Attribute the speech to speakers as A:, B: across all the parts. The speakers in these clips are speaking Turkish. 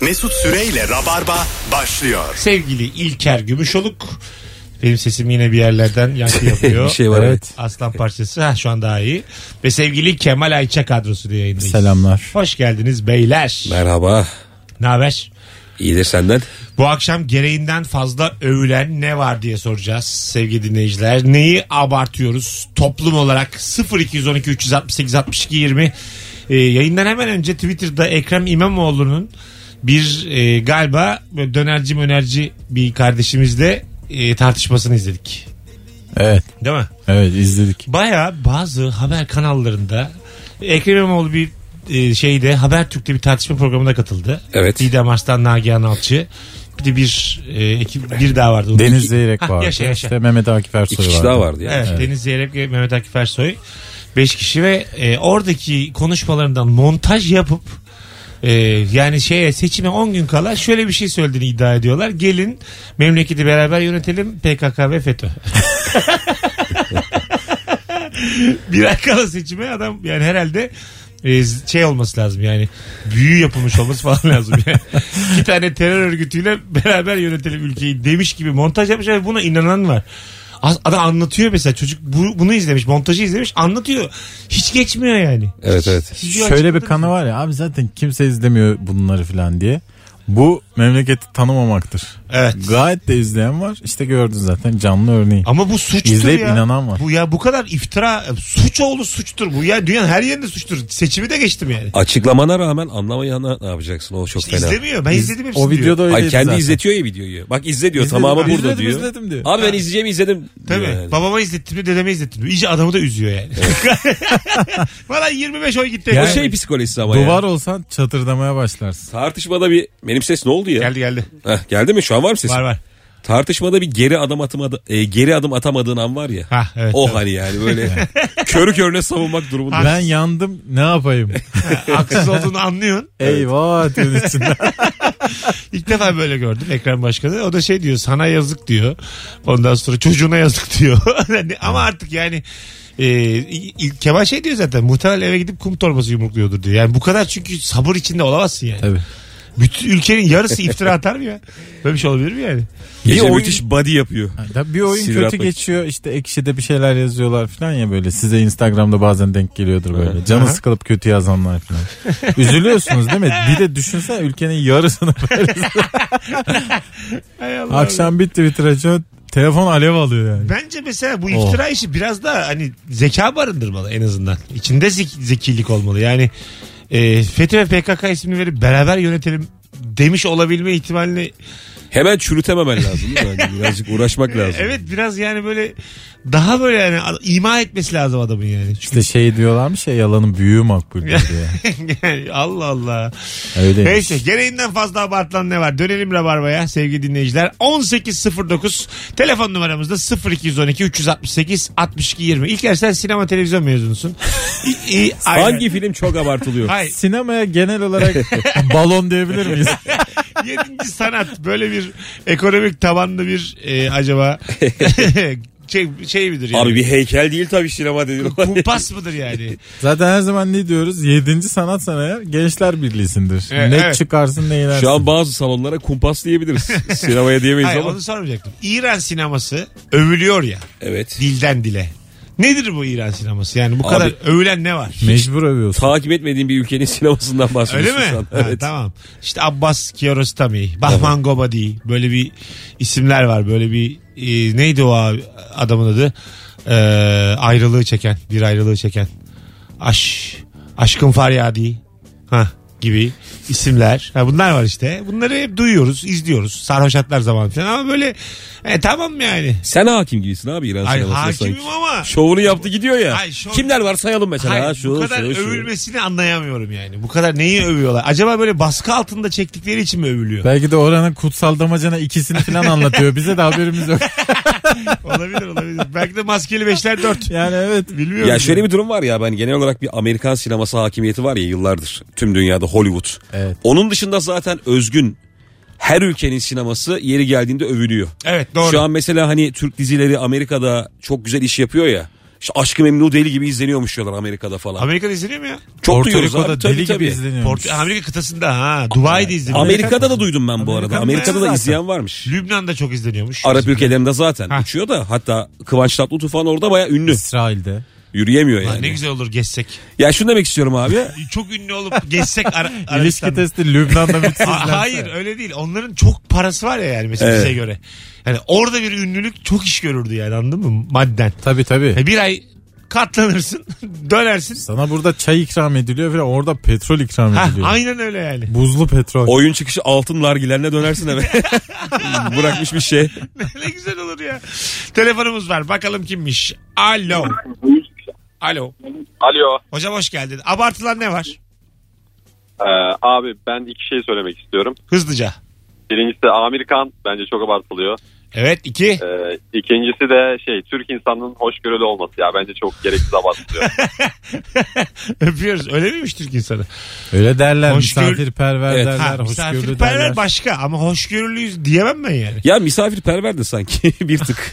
A: Mesut Süreyle Rabarba başlıyor.
B: Sevgili İlker Gümüşoluk. Benim sesim yine bir yerlerden yankı yapıyor.
C: Bir şey var, evet.
B: Aslan parçası. Ha, şu an daha iyi. Ve sevgili Kemal Ayça kadrosu diye yayındayız.
C: Selamlar.
B: Hoş geldiniz beyler.
C: Merhaba.
B: Ne haber?
C: İyidir senden.
B: Bu akşam gereğinden fazla övülen ne var diye soracağız sevgili dinleyiciler. Neyi abartıyoruz toplum olarak 0212 368 62 20 Ee, yayından hemen önce Twitter'da Ekrem İmamoğlu'nun bir e, galiba böyle dönerci mönerci bir kardeşimizle e, tartışmasını izledik.
C: Evet.
B: Değil mi?
C: Evet izledik.
B: Baya bazı haber kanallarında Ekrem İmamoğlu bir e, şeyde Habertürk'te bir tartışma programına katıldı.
D: Evet.
B: Didem Arslan, Nagihan Alçı. Bir de bir e, ekip bir daha vardı.
C: Deniz
B: İki-
C: Zeyrek
B: Hah,
C: vardı.
B: Yaşa yaşa.
C: İşte Mehmet Akif Ersoy
D: İki kişi
C: vardı.
D: daha vardı yani.
B: Evet, Deniz Zeyrek ve Mehmet Akif Ersoy. Beş kişi ve e, oradaki konuşmalarından montaj yapıp e, yani şeye seçime 10 gün kala şöyle bir şey söylediğini iddia ediyorlar. Gelin memleketi beraber yönetelim PKK ve FETÖ. bir ay kala seçime adam yani herhalde e, şey olması lazım yani büyü yapılmış olması falan lazım yani. İki tane terör örgütüyle beraber yönetelim ülkeyi demiş gibi montaj yapmış ve buna inanan var. Az- Adam anlatıyor mesela çocuk bu- bunu izlemiş montajı izlemiş anlatıyor. Hiç geçmiyor yani.
D: Evet evet.
B: Hiç- hiç
C: Şöyle bir
B: açıkladı
C: kanı
B: mı?
C: var ya abi zaten kimse izlemiyor bunları falan diye. Bu memleketi tanımamaktır.
B: Evet.
C: Gayet de izleyen var. İşte gördün zaten canlı örneği.
B: Ama bu suçtur
C: İzleyip
B: ya.
C: inanan var.
B: Bu ya bu kadar iftira suç oğlu suçtur bu ya dünyanın her yerinde suçtur. Seçimi de geçtim yani.
D: Açıklamana rağmen anlamayana ne yapacaksın o çok fena.
B: İzlemiyor ben izledim hepsini
C: o
B: diyor.
C: videoda öyle
D: Ay kendi izletiyor ya videoyu. Bak izle diyor
C: İzledim
D: tamamı
C: abi.
D: burada
C: İzledim,
D: diyor.
C: izledim diyor.
D: Abi ben izleyeceğimi izledim.
B: Tabii.
D: diyor yani.
B: Babama izlettim de dedeme izlettim de. İyice adamı da üzüyor yani. Valla 25 oy gitti.
D: O şey psikolojisi ama
C: Duvar
D: ya.
C: olsan çatırdamaya başlarsın.
D: Tartışmada bir benim ses ne oldu ya?
B: Geldi geldi.
D: Heh, geldi mi? Şu an var mı sesim?
B: Var var.
D: Tartışmada bir geri adım atamadı, e, geri adım atamadığın an var ya.
B: Ha, evet,
D: o
B: tabii.
D: hani yani böyle körü körüne savunmak durumunda.
C: Ben yandım ne yapayım?
B: Haksız olduğunu anlıyorsun.
C: Eyvah diyorsun içinden.
B: İlk defa böyle gördüm Ekrem Başkanı. O da şey diyor sana yazık diyor. Ondan sonra çocuğuna yazık diyor. Yani Ama artık yani e, İ- İ- Kemal şey diyor zaten muhtemelen eve gidip kum torbası yumrukluyordur diyor. Yani bu kadar çünkü sabır içinde olamazsın yani.
C: Tabii.
B: Bütün ülkenin yarısı iftira atar mı ya? Böyle bir şey olabilir mi yani?
D: Bir
C: Gece
D: o
C: oyun-
D: müthiş body yapıyor.
C: Ya bir oyun
D: Sinir
C: kötü
D: atmak
C: geçiyor işte ekşide bir şeyler yazıyorlar falan ya böyle size Instagram'da bazen denk geliyordur böyle canı
B: Aha.
C: sıkılıp kötü yazanlar falan. Üzülüyorsunuz değil mi? Bir de düşünsene ülkenin yarısını böyle
B: Hay Allah.
C: akşam bir Twitter açıyor telefon alev alıyor yani.
B: Bence mesela bu
C: Oh.
B: iftira işi biraz da hani zeka barındırmalı en azından. İçinde zek- zekilik olmalı. Yani e, FETÖ ve PKK ismini verip beraber yönetelim demiş olabilme ihtimalini
D: Hemen çürütememen lazım. değil mi? Yani birazcık uğraşmak lazım.
B: evet biraz yani böyle daha böyle yani a- ima etmesi lazım adamın yani. Çünkü
C: İşte şey diyorlarmış ya yalanın büyüğü makbuldür diye.
B: yani Allah Allah.
C: Öyle.
B: Neyse gereğinden fazla abartılan ne var? Dönelim Rabarba'ya sevgili dinleyiciler. 18.09 telefon numaramızda 0212 368 62 20. İlker sen sinema televizyon mezunusun. İ- İ- aynen.
D: Hangi film çok abartılıyor?
B: Hayır.
C: Sinemaya genel olarak balon diyebilir miyiz?
B: Yedinci sanat böyle bir ekonomik tabanlı bir e, acaba şey, şey midir yani?
D: Abi bir heykel değil tabii sinema dediğin olay.
B: Kumpas mıdır yani?
C: Zaten her zaman ne diyoruz? Yedinci sanat sanaya gençler birliğisindir.
B: Evet,
C: ne
B: evet.
C: çıkarsın ne inersin.
D: Şu an bazı salonlara kumpas diyebiliriz. Sinemaya diyemeyiz
B: Hayır
D: ama.
B: onu sormayacaktım. İran sineması övülüyor ya
D: Evet.
B: dilden dile. Nedir bu İran sineması? Yani bu
D: Abi-
B: kadar övülen ne var?
C: Mecbur övüyorsun.
D: Takip etmediğin bir ülkenin sinemasından
B: Öyle
D: bahsediyorsun
B: mi?
D: şu
B: Ha,
D: an. Evet.
B: tamam. İşte Abbas Kiarostami, Bahman Gobadi böyle bir isimler var. Böyle bir e, neydi o abi- adamın adı? Ee, ayrılığı çeken, bir ayrılığı çeken. Aş, Aşkın Feryadi. Ha gibi isimler. Ha, bunlar var işte. Bunları hep duyuyoruz, izliyoruz. Sarhoşatlar zamanı falan ama böyle e, tamam yani.
D: Sen hakim gibisin abi İran
B: Ay,
D: sinemasına
B: hakimim
D: sanki.
B: ama
D: Şovunu yaptı gidiyor ya.
B: Ay, şov-
D: Kimler var sayalım mesela.
B: Hayır,
D: ha,
B: bu
D: şu,
B: kadar
D: şu, şu.
B: övülmesini anlayamıyorum yani. Bu kadar neyi övüyorlar? Acaba böyle baskı altında çektikleri için mi övülüyor?
C: Belki de oranın kutsal damacana ikisini falan anlatıyor. Bize de haberimiz yok.
B: olabilir olabilir. Belki de maskeli beşler dört.
C: Yani evet.
B: Bilmiyorum.
D: Ya şöyle bir durum var ya ben genel olarak bir Amerikan sineması hakimiyeti var ya yıllardır tüm dünyada Hollywood.
C: Evet.
D: Onun dışında zaten özgün her ülkenin sineması yeri geldiğinde övülüyor.
B: Evet doğru.
D: Şu an mesela hani Türk dizileri Amerika'da çok güzel iş yapıyor ya. İşte Aşkı Memnu deli gibi izleniyormuş diyorlar Amerika'da falan.
B: Amerika'da izleniyor mu ya?
D: Çok
C: Porto
D: duyuyoruz abi.
C: Rico'da
D: Tabii,
C: deli
D: tabii.
C: gibi izleniyor.
B: Port- Amerika kıtasında ha. Dubai'de izleniyor.
D: Amerika'da da duydum ben bu arada.
B: Amerika'da
D: Amerika'da da
B: zaten. şey.
D: izleyen varmış.
B: Lübnan'da çok izleniyormuş.
D: Arap ülkelerinde zaten
B: Ha.
D: uçuyor da hatta Kıvanç Tatlıtuğ falan orada baya ünlü.
C: İsrail'de.
D: Yürüyemiyor
B: Ha, Ne
D: yani.
B: güzel olur gezsek.
D: Ya şunu demek istiyorum abi.
B: Çok ünlü olup gezsek Ara-
C: İlişki
B: Arabistan'da.
C: testi Lübnan'da
B: Ha-
C: bitsizler.
B: Hayır öyle değil. Onların çok parası var ya yani mesela
D: Evet.
B: bize göre. Yani orada bir ünlülük çok iş görürdü yani anladın mı? Madden.
C: Tabii tabii.
B: E, bir ay katlanırsın dönersin.
C: Sana burada çay ikram ediliyor ve orada petrol ikram
B: Ha,
C: ediliyor.
B: aynen öyle yani.
C: Buzlu petrol.
D: Oyun çıkışı altın largilerine dönersin eve. Bırakmış bir şey.
B: ne güzel olur ya. Telefonumuz var. Bakalım kimmiş. Alo. Alo.
E: Alo.
B: Hocam hoş geldin. Abartılan ne var?
E: Ee, abi ben iki şey söylemek istiyorum.
B: Hızlıca.
E: Birincisi Amerikan bence çok abartılıyor.
B: Evet iki.
E: Ee, ikincisi de şey Türk insanının hoşgörülü olması ya bence çok gereksiz abartılıyor.
B: Öpüyoruz. Öyle miymiş Türk insanı?
C: Öyle derler
B: Hoşgör-
C: misafirperver
D: Evet,
B: Ha,
C: derler. Hoşgörülü derler.
B: misafirperver başka ama hoşgörülüyüz diyemem ben yani.
D: Ya misafirperver de sanki bir tık.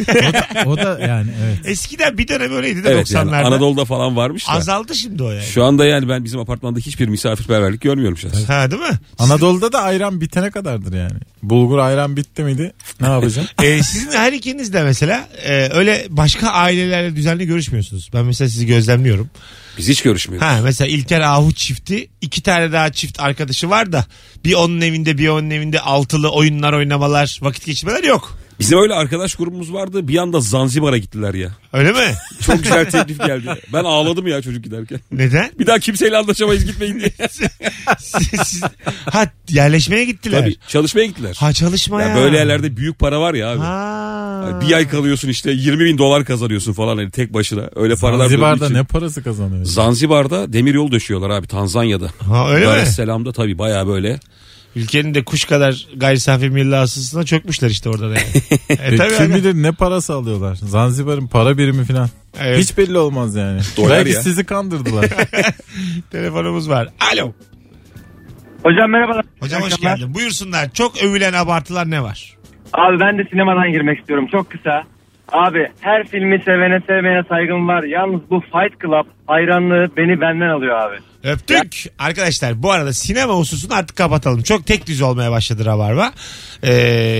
C: O da yani evet.
B: Eskiden bir dönem öyleydi de
D: evet
B: 90'larda.
D: yani Anadolu'da falan varmış da.
B: Azaldı şimdi o yani.
D: Şu anda yani ben bizim apartmanda hiçbir misafirperverlik görmüyorum şahsen.
B: Ha değil mi?
C: Anadolu'da da ayran bitene kadardır yani. Bulgur ayran bitti miydi? Ne yapacaksın?
B: Ee, sizin her ikiniz de mesela e, öyle başka ailelerle düzenli görüşmüyorsunuz. Ben mesela sizi gözlemliyorum.
D: Biz hiç görüşmüyoruz.
B: Ha mesela İlker Ahu çifti iki tane daha çift arkadaşı var da bir onun evinde bir onun evinde altılı oyunlar oynamalar vakit geçirmeler yok.
D: Bizim öyle arkadaş grubumuz vardı bir anda Zanzibar'a gittiler ya.
B: Öyle mi?
D: Çok güzel teklif geldi. Ben ağladım ya çocuk giderken.
B: Neden?
D: Bir daha kimseyle anlaşamayız gitmeyin diye.
B: Siz- siz- ha yerleşmeye gittiler.
D: Tabii çalışmaya gittiler.
B: Ha çalışmaya.
D: Ya böyle yerlerde büyük para var ya abi.
B: Ha.
D: Bir ay kalıyorsun işte 20 bin dolar kazanıyorsun falan hani tek başına. Öyle paralar döndüğü
C: Zibar'da
D: için.
C: ne parası kazanıyor?
D: Zanzibar'da demir yol döşüyorlar abi Tanzanya'da.
B: Ha öyle mi?
D: Dar es Salaam'da tabii baya böyle.
B: Ülkenin de kuş kadar gayri safi milli hasılasına çökmüşler işte orada da yani. e,
C: E,
B: tabii
C: kim
B: aga.
C: bilir ne parası alıyorlar. Zanzibar'ın para birimi falan.
B: Evet.
C: Hiç belli olmaz yani.
D: Dolar
C: Belki
D: ya.
C: sizi kandırdılar.
B: Telefonumuz var. Alo.
F: Hocam merhabalar.
B: Hocam hoş
F: Akşamlar.
B: geldin. Buyursunlar. Çok övülen abartılar ne var?
F: Abi ben de sinemadan girmek istiyorum çok kısa. Abi her filmi sevene sevmeyene saygım var. Yalnız bu Fight Club hayranlığı beni benden alıyor abi.
B: Öptük. Arkadaşlar bu arada sinema hususunu artık kapatalım. Çok tek düz olmaya başladı Rabarba. Ee,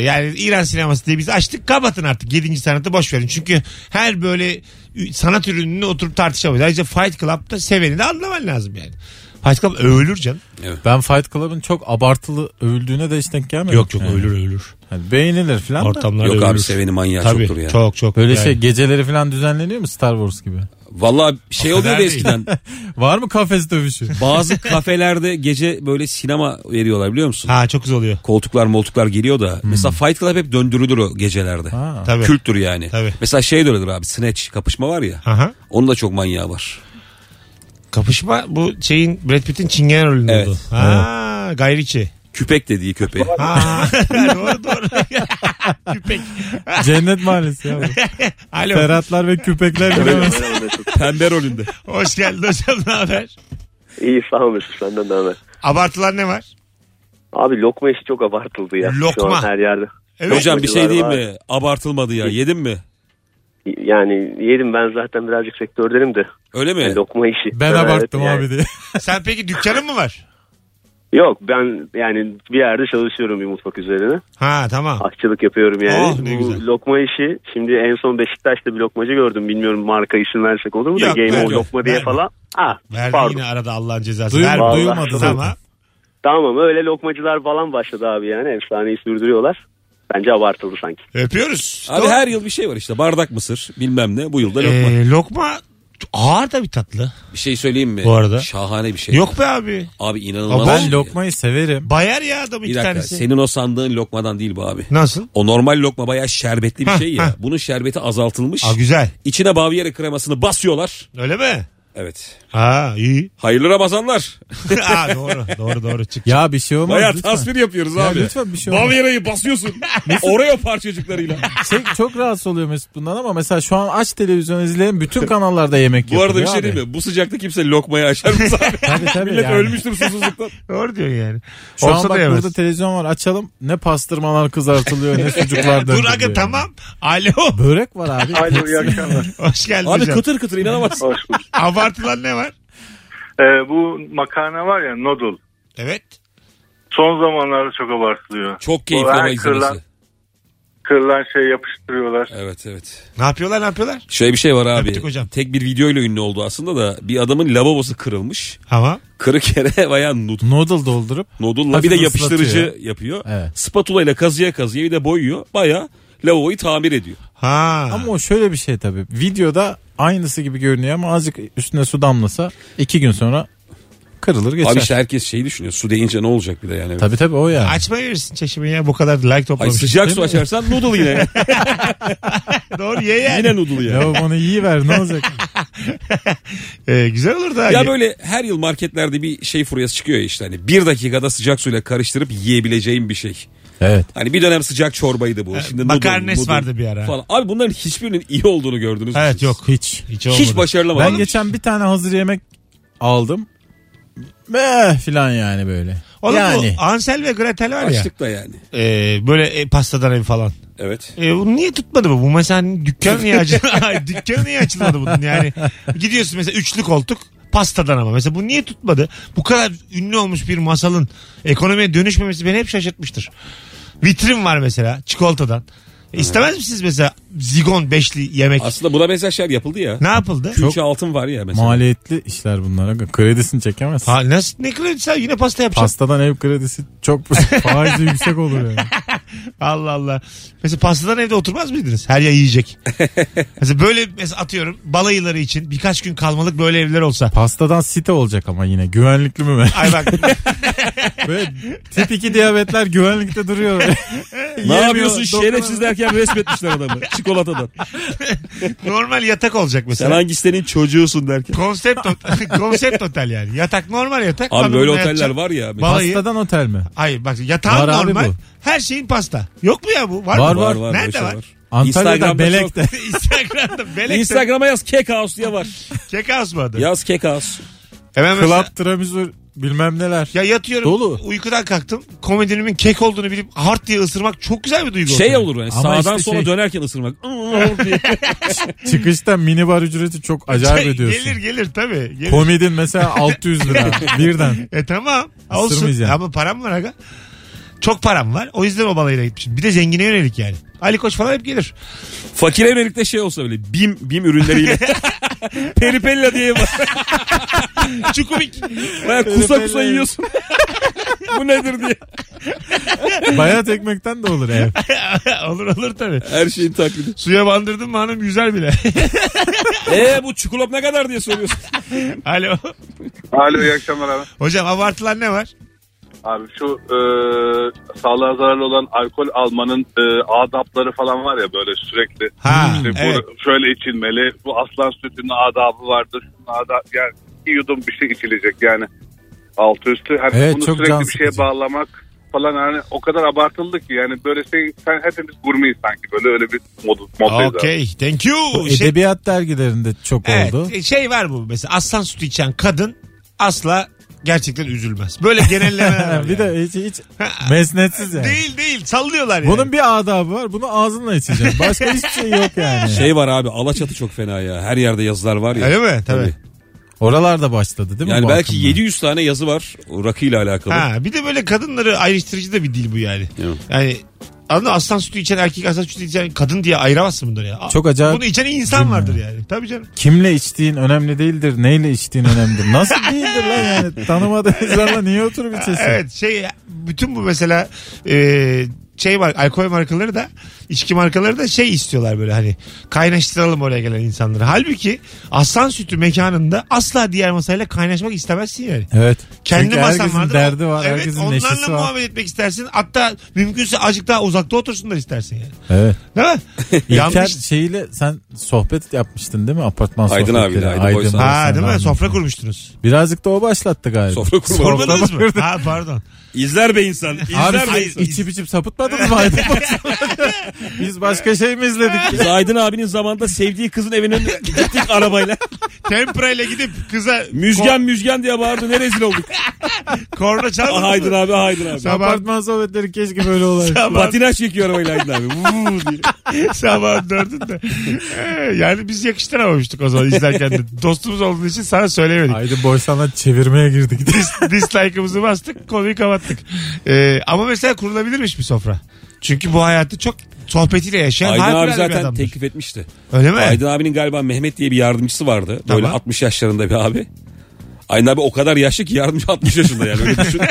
B: yani İran sineması diye biz açtık. Kapatın artık. 7. sanatı boş verin. Çünkü her böyle ü- sanat ürününü oturup tartışamayız. Ayrıca Fight Club'da seveni de anlaman lazım yani. Fight Club övülür canım.
C: ben Fight Club'ın çok abartılı övüldüğüne de hiç denk gelmedim. Yani.
B: övülür.
C: Yani beğenilir falan da.
B: Ortamlarda
D: Yok
B: övülür.
D: abi seveni manyağı
B: Tabii,
D: çoktur ya.
B: Çok çok.
C: Böyle
B: Yani
C: şey geceleri falan düzenleniyor mu Star Wars gibi?
D: Valla şey
B: O kadar
D: oluyordu
B: değil.
D: eskiden.
C: Var mı kafes dövüşü?
D: Bazı kafelerde gece böyle sinema veriyorlar biliyor musun?
B: Ha çok güzel oluyor.
D: Koltuklar moltuklar geliyor da. Mesela Fight Club hep döndürülür o gecelerde.
C: Ha.
B: Tabii.
D: Külttür yani.
B: Tabii.
D: Mesela şey de öyledir abi Snatch kapışma var ya.
B: Aha.
D: Onun da çok manyağı var.
B: Kapışma bu şeyin Brad Pitt'in çingen rolünde
D: Evet.
B: oldu. Ha, gayriçi.
D: Küpek dediği köpeği.
B: Ha, doğru doğru. Küpek.
C: Cennet mahallesi ya. bu.
B: Alo.
C: Ferhatlar ve küpekler göremez.
D: Pembe rolünde.
B: Hoş geldin hocam ne haber?
G: İyi sağ ol Mesut senden ne haber?
B: Abartılan ne var?
G: Abi lokma işi çok abartıldı ya. Şu
B: Lokma.
G: an her yerde.
B: Evet.
D: Hocam bir şey
G: Var,
D: diyeyim
G: var.
D: mi? Abartılmadı ya. Yedin mi?
G: Yani yedim ben zaten birazcık sektördenim de.
D: Öyle mi?
G: Yani lokma işi.
C: Ben
G: Evet,
C: abarttım
G: yani.
C: abi diye.
B: Sen peki dükkanın mı var?
G: Yok ben yani bir yerde çalışıyorum bir mutfak üzerine.
B: Ha tamam.
G: Aşçılık yapıyorum yani.
B: Oh, ne
G: Bu
B: güzel.
G: lokma işi şimdi en son Beşiktaş'ta bir lokmacı gördüm. Bilmiyorum marka isim versek olur mu da
B: Yok,
G: Game
B: ver, yok,
G: On Lokma diye
B: verme.
G: falan. Ah
B: Verdi
G: pardon.
B: yine arada Allah'ın cezası.
C: Duyum-
B: Verme.
C: duyulmadı zaten.
B: Tamam.
G: Tamam öyle lokmacılar falan başladı abi yani. Efsaneyi sürdürüyorlar. Bence abartıldı sanki.
B: Öpüyoruz.
D: Abi
B: Doğru.
D: her yıl bir şey var işte. Bardak mısır bilmem ne. Bu yılda lokma.
B: Ee, lokma ağır da bir tatlı.
D: Bir şey söyleyeyim mi?
B: Bu arada.
D: Şahane bir şey.
B: Yok be abi.
D: Abi inanılmaz.
B: Ama
D: bir
C: Ben
D: şey.
C: lokmayı severim.
B: Bayar ya adam
D: Bir
B: iki
D: dakika.
B: tanesi.
D: Senin o sandığın lokmadan değil bu abi.
B: Nasıl?
D: O normal lokma bayağı şerbetli bir
B: Hah,
D: şey ya.
B: hah.
D: Bunun şerbeti azaltılmış.
B: Aa, güzel.
D: İçine Bavyera kremasını basıyorlar.
B: Öyle mi?
D: Evet.
B: Ha iyi.
D: Hayırlı Ramazanlar.
B: ha, doğru doğru doğru çık.
C: Ya bir şey olmaz.
D: Baya
C: lütfen.
D: tasvir yapıyoruz
C: Ya
D: abi.
C: lütfen bir şey olmaz.
D: Bavyera'yı basıyorsun. Oraya parçacıklarıyla.
C: Şey, çok rahatsız oluyor Mesut bundan ama mesela şu an aç televizyon izleyen bütün kanallarda yemek
D: Bu
C: yapılıyor
D: arada bir şey
C: abi.
D: değil mi? Bu sıcakta kimse lokmayı açar mı zaten?
C: Tabii tabii
D: Millet
C: yani.
D: ölmüştür susuzluktan.
B: Doğru diyorsun yani.
C: Şu
B: Olsa
C: an
B: da
C: bak
B: yemez.
C: burada televizyon var açalım ne pastırmalar kızartılıyor ne sucuklar
B: Dur
C: döndürülüyor.
B: aga tamam. Alo.
C: Börek var abi.
H: Alo iyi akşamlar.
B: Hoş geldin
D: Abi
B: hocam.
D: kıtır kıtır inanamazsın.
H: Hoş bulduk.
B: Abartılan ne var?
H: Ee, bu makarna var ya noodle.
B: Evet.
H: Son zamanlarda çok abartılıyor.
D: Çok keyifli
H: Ulan
D: ama
H: kırılan-
D: izlemesi.
H: Kırılan şey yapıştırıyorlar.
D: Evet evet.
B: Ne yapıyorlar ne yapıyorlar?
D: Şöyle bir şey var abi.
B: Öptük hocam.
D: Tek bir videoyla ünlü oldu aslında da bir adamın lavabosu kırılmış.
B: Ama
D: Kırık yere bayağı nut,
C: Noodle doldurup
D: nodulla bir
C: Hafif
D: de
C: ıslatıyor.
D: yapıştırıcı yapıyor.
C: Evet.
D: Spatula ile kazıya kazıya bir de boyuyor. Bayağı lavaboyu tamir ediyor.
B: ha.
C: ama o şöyle bir şey tabii. Videoda aynısı gibi görünüyor ama azıcık üstüne su damlasa iki gün sonra kırılır geçer.
D: Abi işte herkes şeyi düşünüyor. Su deyince ne olacak bir de yani.
C: Tabii tabii o yani.
B: Açma verirsin çeşmeyi ya bu kadar like
D: Ay
B: toplamış.
D: sıcak su açarsan noodle yine.
B: Doğru ye yani.
D: yine noodle yani.
C: Ya bana iyi ver ne olacak?
B: Ee, güzel olur da.
D: Ya böyle her yıl marketlerde bir şey furyası çıkıyor ya işte hani bir dakikada sıcak suyla karıştırıp yiyebileceğim bir şey.
C: evet.
D: Hani bir dönem sıcak çorbaydı bu. Şimdi noodle,
B: makarnes
D: noodle
B: Ee, vardı bir ara.
D: Falan. Abi bunların hiçbirinin iyi olduğunu gördünüz mü?
B: Evet
D: siz?
B: yok.
C: Hiç.
B: Hiç olmadı.
D: Hiç başarılamadım.
C: Ben geçen bir tane hazır yemek aldım. Be filan yani böyle.
B: Oğlum
C: yani.
B: bu Ansel ve Gretel var ya.
D: Açlık da yani.
B: Ee, böyle e, pastadan ev falan.
D: Evet.
B: E, bu niye tutmadı bu? Bu mesela hani dükkan niye açılmadı? dükkan niye açılmadı bunun yani? Gidiyorsun mesela üçlü koltuk pastadan ama. Mesela bu niye tutmadı? Bu kadar ünlü olmuş bir masalın ekonomiye dönüşmemesi beni hep şaşırtmıştır. Vitrin var mesela çikolatadan. E, İstemez misiniz mesela zigon beşli yemek?
D: Aslında buna benzer şeyler yapıldı ya.
B: ne yapıldı?
D: Külçe altın var ya mesela.
C: Maliyetli işler bunlar. aga. Kredisini çekemezsin.
B: Ha, nasıl ne kredisi abi? yine pasta yapacaksın.
C: Pastadan ev kredisi çok faizi yüksek olur yani.
B: Allah Allah. Mesela pastadan evde oturmaz mıydınız? Her yer yiyecek. mesela böyle mesela atıyorum balayıları için birkaç gün kalmalık böyle evler olsa.
C: Pastadan site olacak ama yine. Güvenlikli mi ben?
B: Ay bak
C: Böyle tip 2 diyabetler güvenlikte duruyor.
D: Ne
C: Yemiyor,
D: yapıyorsun
C: doktora-
D: şerefsiz derken resmetmişler adamı çikolatadan.
B: normal yatak olacak
D: Sen
B: mesela.
D: hangi sitenin çocuğusun derken.
B: Konsept, ot- konsept otel yani. Yatak normal yatak.
D: Abi böyle
B: Hanımla
D: oteller
B: yatacak.
D: var ya. mesela.
B: Balayı.
C: Pastadan otel mi?
B: Hayır bak yatağın
C: Var abi
B: normal.
C: bu.
B: Her şeyin pasta. Yok mu ya bu? Var,
C: Var,
B: mı?
C: var.
D: böyle
B: Nerede
D: şey
B: var?
C: Antalya'da
D: Instagram'da çok-
C: Belek'te.
B: Instagram'da belek Instagram.
D: Instagram'a yaz kek house diye var.
B: Kek asmadı.
D: Yaz kek house.
B: Hemen mesela-
C: Club Tramizu bilmem neler.
B: Ya yatıyorum
C: Dolu.
B: uykudan kalktım. Komedinimin kek olduğunu bilip hart diye ısırmak çok güzel bir duygu.
D: Şey
B: olsa.
D: olur yani
C: Ama
D: sağdan
C: işte
D: sola
C: şey-
D: dönerken ısırmak. diye.
C: Çıkışta minibar ücreti çok acayip
B: Şey,
C: ödüyorsun.
B: Gelir gelir tabii. Gelir.
C: Komedin mesela 600 lira birden.
B: E tamam. Olsun.
C: Isırmayacağım.
B: Ama param var aga. Çok param var. O yüzden o balayına gitmişim. Bir de zengine yönelik yani. Ali Koç falan hep gelir.
D: Fakire yönelik de şey olsa böyle bim bim ürünleriyle. Peripella diye var.
B: Çukumik.
D: Baya kusa kusa yiyorsun. Bu nedir diye.
C: Bayat ekmekten de olur ev.
B: olur olur tabii.
D: Her şeyin taklidi.
B: Suya bandırdım mı hanım yüzer bile.
D: Eee E, bu çikolata ne kadar diye soruyorsun.
B: Alo.
H: Alo iyi akşamlar abi.
B: Hocam abartılan ne var?
H: Abi şu e, sağlığa zararlı olan alkol almanın e, adapları falan var ya böyle sürekli.
B: Ha,
H: İşte bu-
B: evet.
H: Şöyle içilmeli. Bu aslan sütünün adabı vardır. Şunun adabı, yani bir yudum bir şey içilecek yani. Altı üstü. Hani
C: Evet,
H: bunu
C: çok can
H: sürekli bir şeye
C: sıkıcı.
H: bağlamak falan hani o kadar abartıldı ki yani böyle şey sen hepimiz gurmeyiz sanki böyle öyle bir mod, moddayız abi.
B: Okey. Thank you. Şey,
C: Bu edebiyat dergilerinde çok
B: Evet,
C: oldu.
B: e, şey var bu mesela aslan sütü içen kadın asla gerçekten üzülmez. Böyle genellemeler var
C: bir
B: yani.
C: de hiç, hiç mesnetsiz yani.
B: Değil değil sallıyorlar yani.
C: Bunun bir adabı var. Bunu ağzınla içeceksin. Başka hiçbir şey yok yani.
D: Şey var abi Alaçatı çok fena ya. Her yerde yazılar var ya.
B: Öyle mi? Tabii.
C: Oralarda başladı değil mi?
D: Yani
C: bu
D: belki
C: akımlar?
D: 700 tane yazı var o rakıyla alakalı.
B: Ha, bir de böyle kadınları ayrıştırıcı da bir dil bu yani.
D: Evet.
B: Yani anladın mı? aslan sütü içen erkek aslan sütü içen kadın diye ayıramazsın bunları ya. A-
C: Çok acayip.
B: Bunu içen insan vardır yani. Tabii canım.
C: Kimle içtiğin önemli değildir. Neyle içtiğin önemlidir. Nasıl değildir lan yani? Tanımadığın insanla niye oturup içesin?
B: Evet şey bütün bu mesela e, şey var alkol markaları da içki markaları da şey istiyorlar böyle hani kaynaştıralım oraya gelen insanları. Halbuki aslan sütü mekanında asla diğer masayla kaynaşmak istemezsin yani.
C: Evet.
B: Kendi
C: Çünkü
B: masan
C: herkesin
B: vardır.
C: derdi var.
B: Evet,
C: herkesin
B: onlarla
C: neşesi var.
B: muhabbet etmek istersin. Hatta mümkünse azıcık daha uzakta otursunlar istersin yani.
C: Evet.
B: Değil mi?
C: İlker
B: Yanlış.
C: şeyle sen sohbet yapmıştın değil mi? Apartman
D: Aydın
C: sohbetleri.
D: abiyle, Aydın Boysan.
C: Boysan'la
B: Ha değil mi?
C: rahmetli.
B: Sofra kurmuştunuz.
C: Birazcık da o başlattı galiba.
D: Sofra kurma.
B: Kurmadınız mı? Ha pardon.
D: İzler be insan.
C: Abi
D: İzler be
C: siz
D: insan.
C: içip içip sapıtmadınız mı Aydın Boysan'ı? Biz başka şey mi izledik?
I: Biz Aydın abinin zamanında sevdiği kızın evine gittik arabayla.
B: Temperayla gidip kıza
D: Müjgan müjgan diye bağırdı. Ne rezil olduk.
B: korna
D: Ah,
B: çalmadın
D: Aydın abi ah, Aydın abi.
B: Sabah-
C: Apartman sohbetleri keşke böyle olaydı.
D: Patinaj çekiyor arabayla Aydın abi. Vuu diye.
B: Sabahın dördünde. Ee, yani biz yakıştıramamıştık o zaman izlerken de. Dostumuz olduğu için sana söylemedik.
C: Aydın Boysan'la çevirmeye girdik.
B: Dis- Dislike'ımızı bastık konuyu kapattık. Ee, ama mesela kurulabilirmiş bir sofra. Çünkü bu hayatı çok sohbetiyle yaşayan
D: Aydın abi
B: harikulade bir
D: zaten
B: adamdır.
D: teklif etmişti.
B: Öyle mi?
D: Aydın abinin galiba Mehmet diye bir yardımcısı vardı. Böyle
B: Tamam.
D: 60 yaşlarında bir abi. Aydın abi o kadar yaşlı ki yardımcı 60 yaşında yani öyle düşün.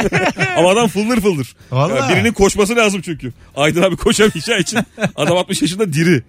D: Ama adam fıldır fıldır.
B: Vallahi.
D: Yani birinin koşması lazım çünkü. Aydın abi koşamayacağı için adam 60 yaşında diri.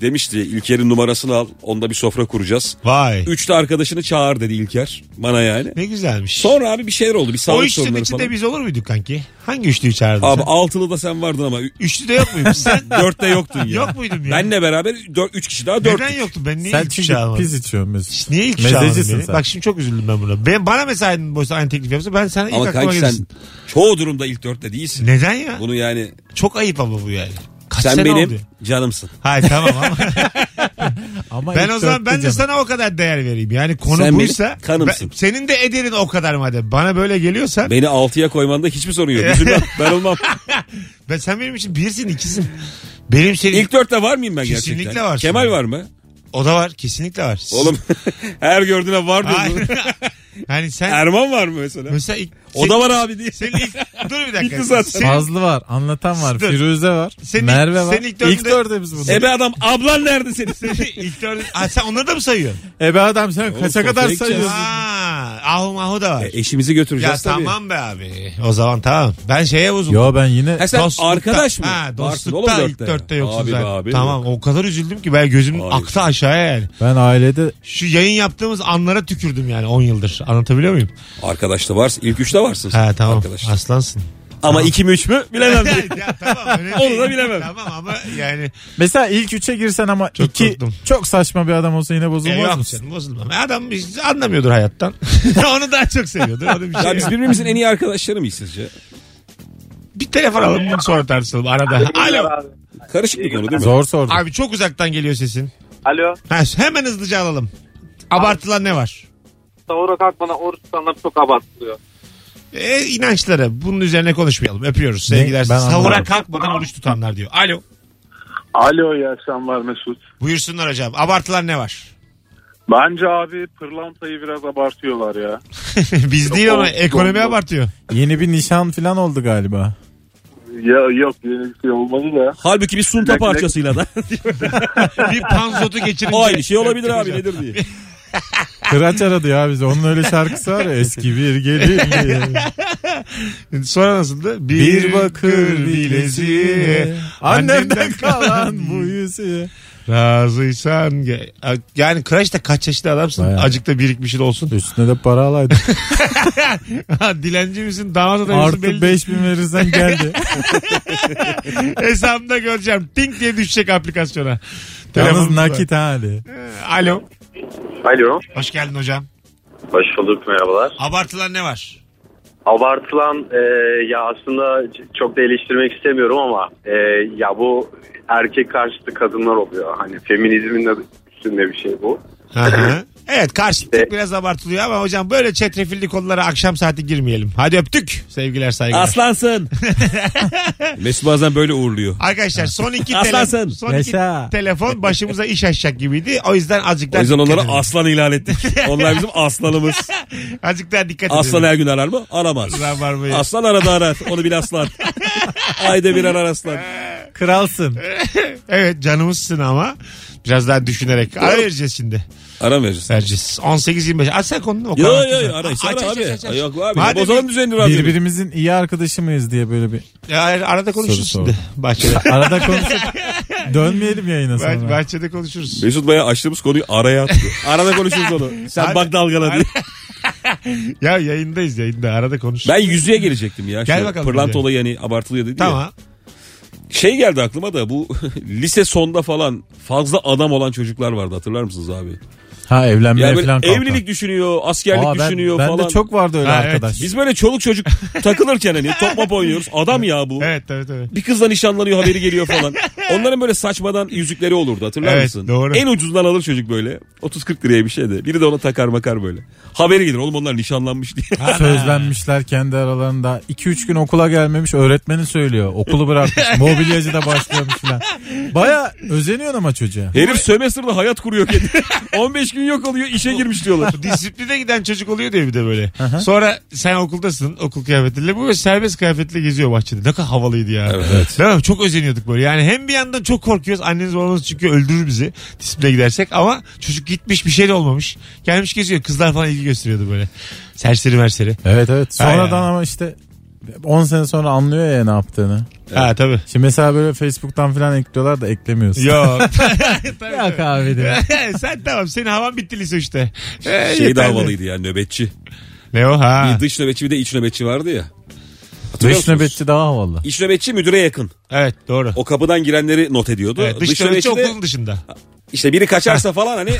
D: Demişti İlker'in numarasını al onda bir sofra kuracağız.
B: Vay.
D: Üçlü arkadaşını çağır dedi İlker bana yani.
B: Ne güzelmiş.
D: Sonra abi bir şeyler oldu bir sağlık
B: o üçlünün
D: sorunları
B: içinde
D: falan.
B: biz olur muyduk kanki? Hangi üçlüyü çağırdın
D: Abi
B: sen?
D: altılı da sen vardın ama ü-
B: Üçlü de yok muyum? Sen
D: dörtte yoktun ya.
B: Yok muydum ya?
D: Benle beraber dört, üç kişi daha dört.
B: neden yoktun? Ben niye
C: Sen
B: ilk
C: çünkü
B: üçü almadım?
C: pis içiyorsun Mesut.
B: Niye ilk üçü almadın
C: Mezecisin
B: beni?
C: sen.
B: Bak şimdi çok üzüldüm ben buna. Ben, bana mesela Aydın Boysa aynı teklif yapsa ben sana ilk
D: Ama
B: aklıma
D: kanki
B: gelirsin.
D: sen çoğu durumda ilk dörtte değilsin.
B: Neden ya?
D: Bunu yani
B: Çok ayıp ama bu yani. Kaç
D: sen
B: sene
D: benim
B: oldu?
D: canımsın.
B: Hayır tamam ama
C: Ama
B: ben
C: ilk
B: o zaman
C: dörtte
B: ben de
C: canım.
B: sana o kadar değer vereyim. Yani konu
D: Sen benim
B: buysa
D: kanımsın.
B: ben- senin de ederin o kadar madem. Bana böyle geliyorsa
D: Beni altıya koymanda hiçbir sorun yok. Üzülmem. ben olmam.
B: ben sen benim için birsin ikisin. Benim senin
D: İlk dörtte var mıyım ben gerçekten?
B: Kesinlikle varsın.
D: Kemal var mı?
B: o da var kesinlikle var.
D: Oğlum her gördüğüne var
B: Hayır.
D: diyordun.
B: hani sen
D: Erman var mı mesela?
B: mesela ilk,
D: O da er- var abi diye.
B: Senin ilk, dur bir dakika.
D: Bitti zaten.
B: Senin,
C: Fazlı var, anlatan var,
B: Dur.
C: Firuze var,
B: Senin-
C: Merve var.
B: senin ilk dördünde-
C: İlk dörde biz bunlar.
D: Ebe E adam ablan nerede senin?
B: ilk dördün- Aa, sen onları da mı sayıyorsun?
C: Ebe adam sen kaça
D: sofraya
C: kadar
D: gideceğiz.
C: sayıyorsun?
B: Aa, ahu mahu da var.
D: E, eşimizi
B: ya
D: götüreceğiz tabii.
B: tamam be abi. O zaman tamam. Ben şeye bozuldum.
C: Yo ben yine
D: Ha, sen
B: Dostlukta-
D: arkadaş mı?
B: Ha,
D: Varsın
B: dostlukta
D: oğlum
B: ilk dörtte yoksun
D: Abi be
B: zaten.
D: abi.
B: tamam o kadar üzüldüm ki ben gözüm
D: Hayır.
B: aktı aşağıya yani.
C: ben ailede
B: Şu yayın yaptığımız anlara tükürdüm yani 10 yıldır. Anlatabiliyor muyum?
D: Arkadaşta varsın. İlk üçte varsın. sen.
B: Ha tamam
D: Arkadaşlar.
B: aslansın.
D: Ama iki mi üç mü bilemem.
B: ya, ya, tamam, öyle
D: Onu
B: değil.
D: da bilemem.
B: Tamam ama yani
C: mesela ilk üçe girsen ama
B: Çok
C: iki
B: korktum.
C: çok saçma bir adam olsa yine
B: e,
C: bozulmaz
B: yok
C: mısın?
B: canım bozulmam. Adam hiç anlamıyordur hayattan. Onu daha çok seviyordur. Onu bir, şey
D: ya biz
B: yok.
D: birbirimizin en iyi arkadaşları mıyız sizce?
B: bir telefon alalım bunu sonra tartışalım arada. Alo.
D: Karışık bir konu değil mi?
C: Zor sordum.
B: Abi çok uzaktan geliyor sesin.
E: Alo.
B: Ha, hemen hızlıca alalım. Abartılan ne var?
E: Sahura kalkmadan oruç tutanlar çok abartılıyor.
B: E, inançlara bunun üzerine konuşmayalım. Öpüyoruz.
C: Ne?
B: Sevgiler.
C: Ben
B: Sahura
C: anlamadım.
B: kalkmadan oruç tutanlar diyor. Alo.
H: Alo iyi akşamlar Mesut.
B: Buyursunlar hocam. Abartılan ne var?
H: Bence abi pırlantayı biraz abartıyorlar ya.
B: Biz değil ama
H: oldu,
B: ekonomi
H: oldu.
B: abartıyor.
C: Yeni bir nişan falan oldu galiba.
H: Ya yok yeni bir şey olmadı da.
I: Halbuki bir sunta parçasıyla da.
B: Bir panzotu geçirince.
D: O aynı şey olabilir abi nedir diye.
C: Kıraç aradı ya bize. Onun öyle şarkısı var ya. Eski bir gelir diye.
B: Sonra nasıldı?
C: şey. Bir bakır bileziğe. Annemden kalan bu yüzüğe.
B: Razıysan. ge- Yani Crash da kaç yaşında adamsın.
C: Bayağı.
B: Azıcık da birikmişin olsun.
C: Üstüne de para alaydı.
B: Dilenci misin? Damat adayı mısın?
C: Artı
B: Belli. değil.
C: 5000 verirsen geldi.
B: Hesabımda göreceğim. Ting diye düşecek aplikasyona.
C: Yalnız
B: Telefonumuz var.
C: nakit hali.
B: Alo.
E: Alo.
B: Hoş geldin hocam.
G: Hoş bulduk merhabalar.
B: Abartılan ne var?
G: Abartılan e, ya aslında c- çok da eleştirmek istemiyorum ama e, ya bu erkek karşıtı kadınlar oluyor. Hani feminizmin de üstünde bir şey bu.
B: Aha. Evet karşıtlık
G: İşte-
B: biraz abartılıyor ama hocam böyle çetrefilli konulara akşam saati girmeyelim. Hadi öptük. Sevgiler saygılar.
I: Aslansın.
D: Mesut bazen böyle uğurluyor.
B: Arkadaşlar son iki,
I: Aslansın.
B: telefon, son iki
C: Yaşa.
B: telefon başımıza iş açacak gibiydi. O yüzden azıcık
D: O
B: daha
D: yüzden
B: dikkat
D: onları
B: edelim.
D: aslan ilan ettik. Onlar bizim aslanımız.
B: Azıcık daha dikkat
D: Aslan
B: edelim.
D: her gün arar mı? Aramaz.
B: Rabarbayı.
D: Aslan arada arar. Onu bil aslan. Ayda bir arar aslan.
C: Kralsın.
D: Er-
B: Evet canımızsın ama biraz daha düşünerek. Ara vereceğiz şimdi.
D: Ara veririz.
B: Vereceğiz. 18-25. Aç sen konunu o
D: Yo
B: kadar.
D: yo yo ara işte
B: Aç,
D: ara
B: aç,
D: abi.
B: aç, aç, aç.
D: Ay, Yok abi.
B: Madem-
D: Bozalım düzenli radyoyu.
C: Birbirimizin iyi arkadaşı mıyız diye böyle bir
B: Ya, arada konuşuruz
C: Soru
B: şimdi. Bahçede.
C: arada konuşup dönmeyelim yayına
B: Bah-
C: sonra.
B: bahçede konuşuruz.
D: Mesut Bey'e açtığımız konuyu araya attı. Arada konuşuruz onu. Sen
B: Abi-
D: bak dalgala diye.
B: Ya yayındayız yayında. Arada konuşuruz.
D: Ben yüzüğe gelecektim ya.
B: Gel
D: Şu
B: bakalım
D: Pırlanta
B: yüzüğe.
D: olayı yani abartılıyor dedi ya.
B: Tamam.
D: Şey geldi aklıma da bu lise sonda falan fazla adam olan çocuklar vardı hatırlar mısınız abi?
C: Ha evlenmeye
D: Yani böyle
C: falan kalkan.
D: evlilik düşünüyor, askerlik
C: Aa, ben,
D: düşünüyor
C: ben
D: falan.
C: de çok vardı öyle
B: Ha, evet.
C: arkadaş.
D: Biz böyle çoluk çocuk takılırken hani top mop oynuyoruz. Adam ya bu.
B: Evet tabii tabii.
D: Bir kızla nişanlanıyor haberi geliyor falan. Onların böyle saçmadan yüzükleri olurdu hatırlar
B: Evet,
D: mısın?
B: doğru.
D: En ucuzdan alır çocuk böyle. 30-40 liraya bir şey de. Biri de ona takar makar böyle. Haberi gelir oğlum onlar nişanlanmış diye.
C: Sözlenmişler kendi aralarında. 2-3 gün okula gelmemiş öğretmeni söylüyor. Okulu bırakmış. Mobilyacı da başlıyormuş falan. Baya özeniyorsun ama çocuğa.
D: Herif sömestrda hayat kuruyor kendine. 15 gün yok oluyor işe girmiş diyorlar.
B: Disipline giden çocuk oluyor diye bir de böyle. Sonra sen okuldasın okul kıyafetiyle. Bu böyle serbest kıyafetle geziyor bahçede. Ne kadar havalıydı ya.
D: Evet, evet.
B: Değil mi? Çok özeniyorduk böyle. Yani hem bir yandan çok korkuyoruz. Anneniz babamız çünkü öldürür bizi disipline gidersek. Ama çocuk gitmiş bir şey de olmamış. Gelmiş geziyor. Kızlar falan ilgi gösteriyordu böyle. Serseri merseri.
C: Evet evet.
B: Ha,
C: Sonradan
B: yani.
C: ama işte 10 sene sonra anlıyor ya ne yaptığını.
B: Ha tabii.
C: Şimdi mesela böyle Facebook'tan falan ekliyorlar da eklemiyorsun.
B: Yok.
C: Ya kahve de.
B: Sen tamam. Senin havan bitti lise işte.
D: Şey de havalıydı ya nöbetçi.
B: Ne o ha?
D: Bir dış nöbetçi bir de iç nöbetçi vardı ya. Hatırlıyor
C: Dış
D: musunuz?
C: nöbetçi daha havalı.
D: İç nöbetçi müdüre yakın.
B: Evet doğru.
D: O kapıdan girenleri not ediyordu.
B: Evet,
D: dış,
B: dış
D: nöbetçi
B: nöbetçi
D: de
B: okulun dışında.
D: işte biri kaçarsa falan hani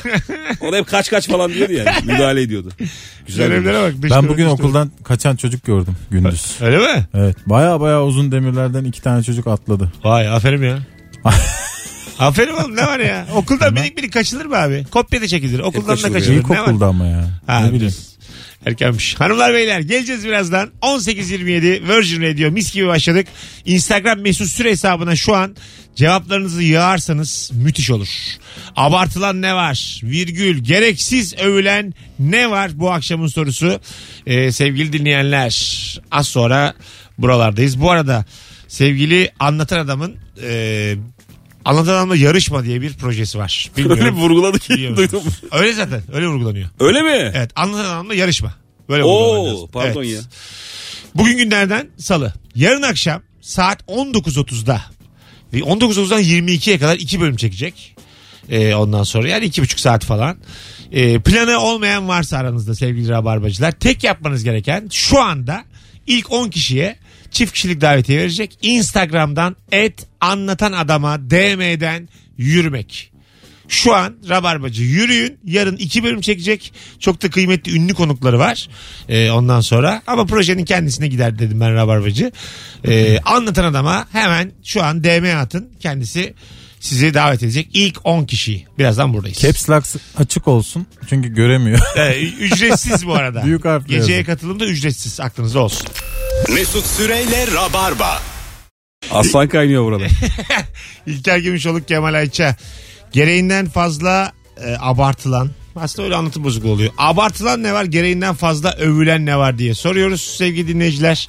D: o da hep kaç kaç falan diyordu yani. Müdahale ediyordu. Güzel.
B: Görevlere
D: bir-
B: bak. dış
C: Ben
B: nöbet,
C: bugün
B: dış nöbet.
C: okuldan kaçan çocuk gördüm gündüz.
B: Öyle mi?
C: Evet baya baya uzun demirlerden iki tane çocuk atladı.
B: Vay aferin ya. aferin oğlum ne var ya? Okuldan minik minik kaçılır mı abi? Kopya da çekilir. Okuldan da
D: kaçılır ya.
B: kaçılır. Ne var?
C: İlkokulda ama ya.
B: Ha,
C: ne bileyim.
B: biz- Erkenmiş. Hanımlar beyler geleceğiz birazdan. 18.27 Virgin Radio mis gibi başladık. Instagram mesut süre hesabına şu an cevaplarınızı yağarsanız müthiş olur. Abartılan ne var? Virgül gereksiz övülen ne var? Bu akşamın sorusu. Ee, sevgili dinleyenler az sonra buralardayız. Bu arada sevgili anlatan adamın e, anlatan adamla yarışma diye bir projesi var.
D: Öyle
B: Bilmiyorum.
D: vurguladı ki
B: biliyor
D: duydum.
B: musunuz? Öyle zaten. Öyle vurgulanıyor.
D: Öyle mi?
B: Evet anlatan adamla yarışma. Böyle vurgulaman
D: Oo
B: lazım.
D: pardon
B: Evet.
D: ya.
B: Bugün günlerden salı. Yarın akşam saat 19.30'da ve 19.30'dan 22'ye kadar iki bölüm çekecek. Ee, ondan sonra yani iki buçuk saat falan. Ee, planı olmayan varsa aranızda sevgili rabarbacılar tek yapmanız gereken şu anda ilk 10 kişiye çift kişilik davetiye verecek. Instagram'dan et anlatan adama DM'den yürümek. Şu an Rabarbacı yürüyün. Yarın iki bölüm çekecek. Çok da kıymetli ünlü konukları var. Ee, ondan sonra ama projenin kendisine gider dedim ben Rabarbacı. Ee, anlatan adama hemen şu an DM atın. Kendisi sizi davet edecek. İlk 10 kişiyi. Birazdan buradayız.
C: Caps lock açık olsun çünkü göremiyor.
B: Ee, ücretsiz bu arada.
C: Büyük harfle
B: Geceye
C: yazın.
B: katılım da ücretsiz. Aklınızda olsun.
A: Mesut Süreyle Rabarba.
D: Aslan kaynıyor burada.
B: İlker Gümüşoluk, Kemal Ayça. Gereğinden fazla e, abartılan aslında öyle anlatım bozukluğu oluyor. Abartılan ne var? Gereğinden fazla övülen ne var diye soruyoruz sevgili dinleyiciler.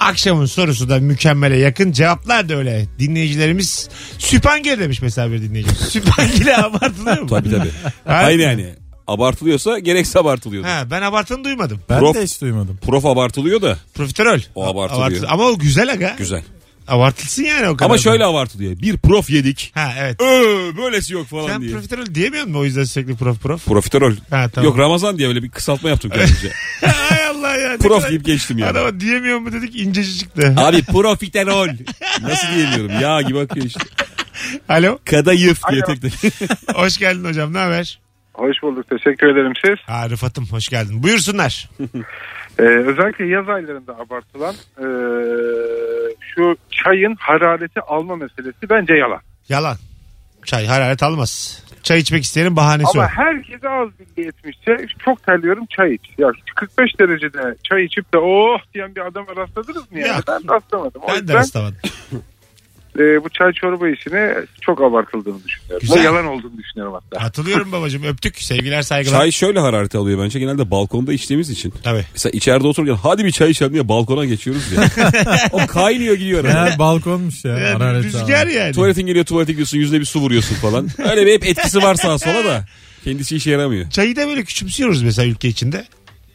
B: Akşamın sorusu da mükemmele yakın. Cevaplar da öyle. Dinleyicilerimiz süpangile demiş mesela bir dinleyicimiz. Süpangile abartılıyor mu?
D: tabii tabii.
B: Ha?
D: Aynı yani. Abartılıyorsa gereksiz abartılıyordu.
B: Ha, ben abartını duymadım.
C: Ben
D: Prof.
C: de hiç duymadım.
D: Prof abartılıyor da
B: Profiterol.
D: O abartılıyor.
B: Abartı- Ama o güzel aga.
D: güzel.
B: Abartılsın yani o kadar.
D: Ama
B: da.
D: şöyle abartılıyor. Bir prof yedik.
B: Ha evet.
D: Öö, böylesi yok falan
B: Sen
D: diye.
B: profiterol diyemiyor musun o yüzden sürekli prof prof?
D: Profiterol.
B: Ha, tamam.
D: Yok Ramazan diye böyle bir kısaltma yaptım kendimce.
B: Hay Allah ya. ne
D: prof
B: kadar-
D: deyip geçtim yani.
B: Adama diyemiyor mu dedik inceci çıktı.
D: Abi profiterol. Nasıl diyemiyorum? Yağ gibi akıyor işte.
B: Alo.
D: Kadayıf diye tek tek.
B: Hoş geldin hocam. Ne haber?
H: Hoş bulduk teşekkür ederim siz.
B: Ha Rıfat'ım hoş geldin. Buyursunlar.
H: Ee, özellikle yaz aylarında abartılan ee, şu çayın harareti alma meselesi bence yalan.
B: Yalan. Çay hararet almaz. Çay içmek isteyenin bahanesi
H: Ama
B: o.
H: herkese az bilgi etmişçe çok terliyorum çay iç. Ya 45 derecede çay içip de oh diyen bir adama rastladınız mı yani?
B: Ya.
H: Ben rastlamadım. O
B: Ben de
H: yüzden
B: rastlamadım.
H: e, bu çay çorba işine çok abartıldığını düşünüyorum.
B: Güzel.
H: Bu yalan olduğunu düşünüyorum hatta.
B: Hatırlıyorum babacığım öptük sevgiler saygılar.
D: Çay şöyle hararet alıyor bence genelde balkonda içtiğimiz için.
B: Tabii.
D: Mesela içeride otururken hadi bir çay içelim diye balkona geçiyoruz ya. o kaynıyor gidiyor. arada.
C: Meğer balkonmuş ya.
B: Yani
C: hararet
B: Ee, rüzgar
C: alan.
B: yani.
D: Tuvaletin geliyor tuvalete gidiyorsun yüzde bir su vuruyorsun falan. Öyle bir hep etkisi var sağa sola da. Kendisi işe yaramıyor.
B: Çayı da böyle küçümsüyoruz mesela ülke içinde.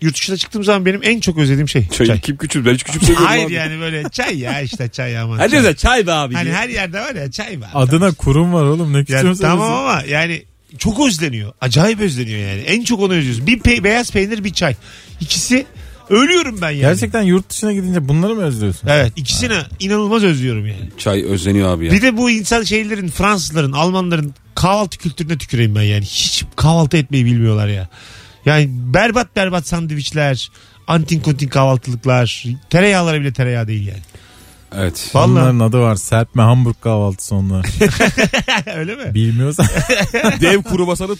B: Yurt dışına çıktığım zaman benim en çok özlediğim şey
D: Çayı
B: çay.
D: kim küçük ben hiç küçük
B: Hayır yani böyle çay ya işte çay aman.
D: Hadi
B: çay.
D: bize çay be abi.
B: Hani
D: diye.
B: her yerde var ya çay var.
C: Adına kurum var oğlum ne
B: Yani
C: küçümseniz.
B: tamam ama yani çok özleniyor. Acayip özleniyor yani. En çok onu özlüyoruz. Bir pe- beyaz peynir bir çay. İkisi ölüyorum ben yani.
C: Gerçekten yurt dışına gidince bunları mı özlüyorsun?
B: Evet ikisini inanılmaz özlüyorum yani.
D: Çay özleniyor abi ya.
B: Bir de bu insan şeylerin Fransızların, Almanların kahvaltı kültürüne tüküreyim ben yani. Hiç kahvaltı etmeyi bilmiyorlar ya. Yani berbat berbat sandviçler, antin kuntin kahvaltılıklar, tereyağlara bile tereyağı değil yani.
D: Evet.
B: Vallahi
C: Bunların adı var. Serpme Hamburg kahvaltısı onlar.
B: öyle mi?
C: Bilmiyorsan.
D: Dev kuru basanı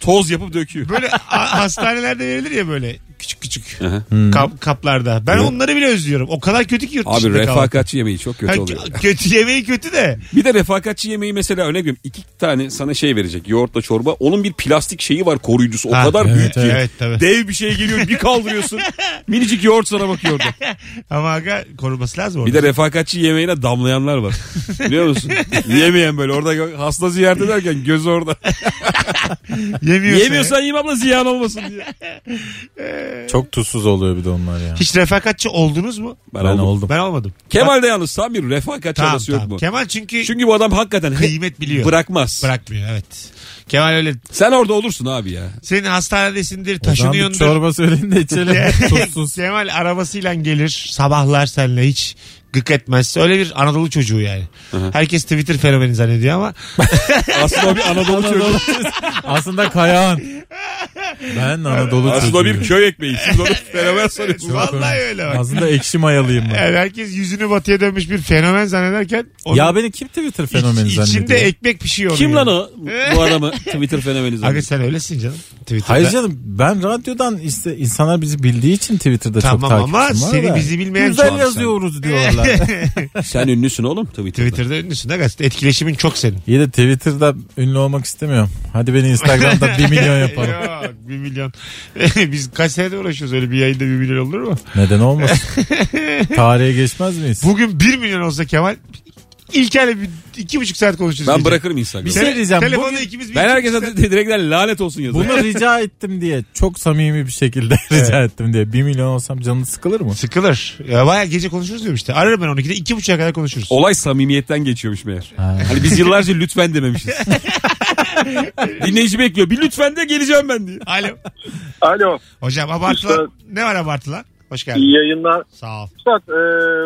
D: toz yapıp döküyor.
B: Böyle a- hastanelerde verilir ya böyle küçük küçük
D: Aha.
C: Hmm.
B: kap- kaplarda. Ben
D: Evet.
B: onları bile özlüyorum. O kadar kötü ki yurt
D: Abi
B: dışında kahvaltı.
D: refakatçi yemeği çok kötü
B: Ha,
D: oluyor.
B: kötü yemeği kötü de.
D: Bir de refakatçi yemeği mesela örnek veriyorum. iki tane sana şey verecek yoğurtla çorba. Onun bir plastik şeyi var koruyucusu. O
B: Ha,
D: kadar
B: evet,
D: büyük ki.
B: evet, tabii.
D: Dev bir şey geliyor bir kaldırıyorsun. minicik yoğurt sana bakıyordu.
B: Ama aga koruması lazım orada.
D: Bir de refakatçi yemeğine damlayanlar var. Biliyor musun? Yemeyen böyle orada hasta ziyaret ederken gözü orada.
B: Yemiyorsa-
D: Yemiyorsan yiyeyim abla ziyan olmasın diye.
C: Çok tuzsuz oluyor bir de onlar ya.
B: Hiç refakatçi oldunuz mu?
D: Ben,
C: ben
D: oldum.
C: oldum.
B: Ben olmadım.
D: Kemal de yalnız tam bir refakatçi
B: Tamam,
D: arası
B: tamam.
D: yok mu?
B: Kemal çünkü,
D: Çünkü bu adam hakikaten hep
B: kıymet biliyor.
D: bırakmaz.
B: Bırakmıyor evet. Kemal öyle
D: Sen orada olursun abi ya.
B: senin hastanedesindir
C: O zaman bir
B: taşınıyordur.
C: çorba söyleyin de içelim. tuzsuz.
B: Kemal arabasıyla gelir sabahlar seninle hiç gık etmez. Öyle bir Anadolu çocuğu yani. Herkes Twitter fenomeni zannediyor ama
D: Aslında o bir Anadolu çocuğu.
C: Aslında Kayahan. Ben Anadolu
D: Aslında o bir
C: çocuğuyum.
D: köy ekmeği. Siz onu fenomen sanıyorsunuz.
B: vallahi öyle bak.
C: Aslında ekşi mayalıyım ben.
B: Yani herkes yüzünü batıya dönmüş bir fenomen zannederken onun
C: Ya beni kim Twitter fenomeni
B: iç-
C: zannediyor?
B: içinde ekmek pişiyor.
D: Kim
B: onun
D: lan
B: yani.
D: o? Bu adamı Twitter fenomeni
B: Aga
D: zannediyor.
B: sen öylesin canım. Twitter'da.
C: Hayır canım ben radyodan işte insanlar bizi bildiği için Twitter'da çok
B: Tamam
C: takipçim
B: ama
C: var
B: seni
C: da.
B: bizi bilmeyen
C: Güzel
B: çok.
C: yazıyoruz diyorlar.
D: Sen ünlüsün oğlum Twitter'da.
B: Twitter'da ünlüsün. Aga etkileşimin çok senin.
C: İyi de Twitter'da ünlü olmak istemiyorum. Hadi beni Instagram'da 1 milyon yapalım.
B: Yok 1 milyon. Biz kaç senede uğraşıyoruz öyle bir yayında 1 milyon olur mu?
C: Neden olmasın? Tarihe geçmez miyiz?
B: Bugün 1 milyon olsa Kemal İlker'le bir, iki buçuk saat konuşuruz.
D: Ben
B: gece.
D: bırakırım Instagram'ı.
C: Bir şey diyeceğim.
B: Telefonda
C: Bugün-
B: ikimiz bir
D: Ben
B: iki
D: herkese
B: buçuk saat-
D: direkt lanet olsun yazarım.
C: Bunu rica ettim diye çok samimi bir şekilde rica ettim diye. 1 milyon olsam canı sıkılır mı?
B: Sıkılır. Ya bayağı gece konuşuruz diyorum işte. Ararım ben 12'de iki buçuğa kadar konuşuruz.
D: Olay samimiyetten geçiyormuş meğer.
C: Ha.
D: Hani biz yıllarca lütfen dememişiz. Dinleyici bekliyor. Bir lütfen de geleceğim ben diye.
B: Alo.
H: Alo.
B: Hocam abartılan ne var abartılan? Hoş geldin.
H: iyi yayınlar.
B: Sağ ol.
H: Üstad e,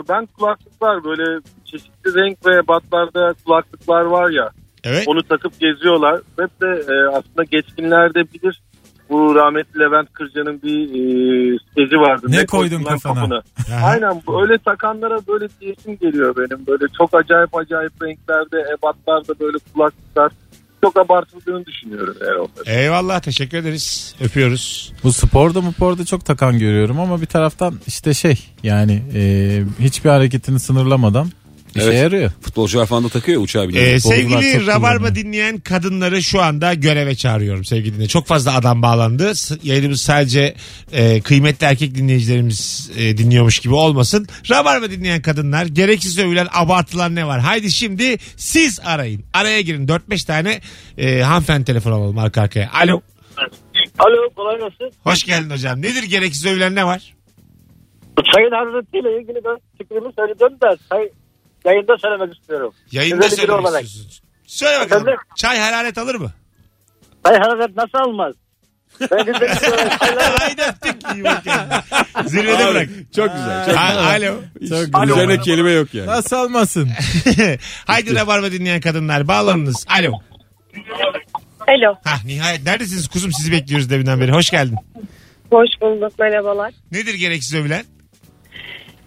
H: ben kulaklıklar böyle çeşitli renk ve batlarda kulaklıklar var ya
B: Evet.
H: onu takıp geziyorlar. Hep de e, aslında geçkinlerde bilir bu rahmetli Levent Kırca'nın bir e, sezi vardı.
C: Ne koydun kafana?
B: Aha.
H: Aynen böyle takanlara böyle diyesim geliyor benim. Böyle çok acayip acayip renklerde, ebatlarda böyle kulaklıklar çok abartıldığını düşünüyorum eğer onları.
B: Eyvallah teşekkür ederiz. Öpüyoruz.
C: Bu sporda mı sporda çok takan görüyorum ama bir taraftan işte şey yani e, hiçbir hareketini sınırlamadan işe
D: Evet.
C: yarıyor.
D: Futbolcular falan da takıyor ya uçağa biniyor.
B: Ee,
C: Futbolcular çok
B: sevgili Rabarba
C: kullanıyor.
B: dinleyen kadınları şu anda göreve çağırıyorum sevgili dinleyen. Çok fazla adam bağlandı. S- Yayınımız sadece e, kıymetli erkek dinleyicilerimiz e, dinliyormuş gibi olmasın. Rabarba dinleyen kadınlar gereksiz övülen abartılan ne var? Haydi şimdi siz arayın. Araya girin 4-5 tane e, hanımefendi telefon alalım arka arkaya. Alo.
F: Alo kolay gelsin.
B: Hoş geldin hocam. Nedir gereksiz övülen ne var?
F: Sayın Hazreti ile ilgili ben fikrimi söyledim de say, yayında söylemek istiyorum.
B: Yayında
F: Özel biri
B: söylemek
F: olarak.
B: istiyorsunuz. Söyle bakalım.
F: Efendim?
B: Çay hararet alır mı?
F: Sayın Hazreti nasıl almaz? Ben de böyle şeyler-
B: Haydi öptük. İyi bak kendine. Zirvede
D: Abi,
B: bırak.
D: Çok güzel. Çok
B: A- Alo.
D: güzel.
C: Çok güzel.
D: Üzerine kelime yok yani.
C: Nasıl almasın?
B: Haydi Rabarba dinleyen kadınlar bağlanınız. Alo.
J: Alo,
B: Hah nihayet neredesiniz kuzum sizi bekliyoruz deminden beri. Hoş geldin.
J: hoş bulduk, merhabalar.
B: Nedir gereksiz övülen?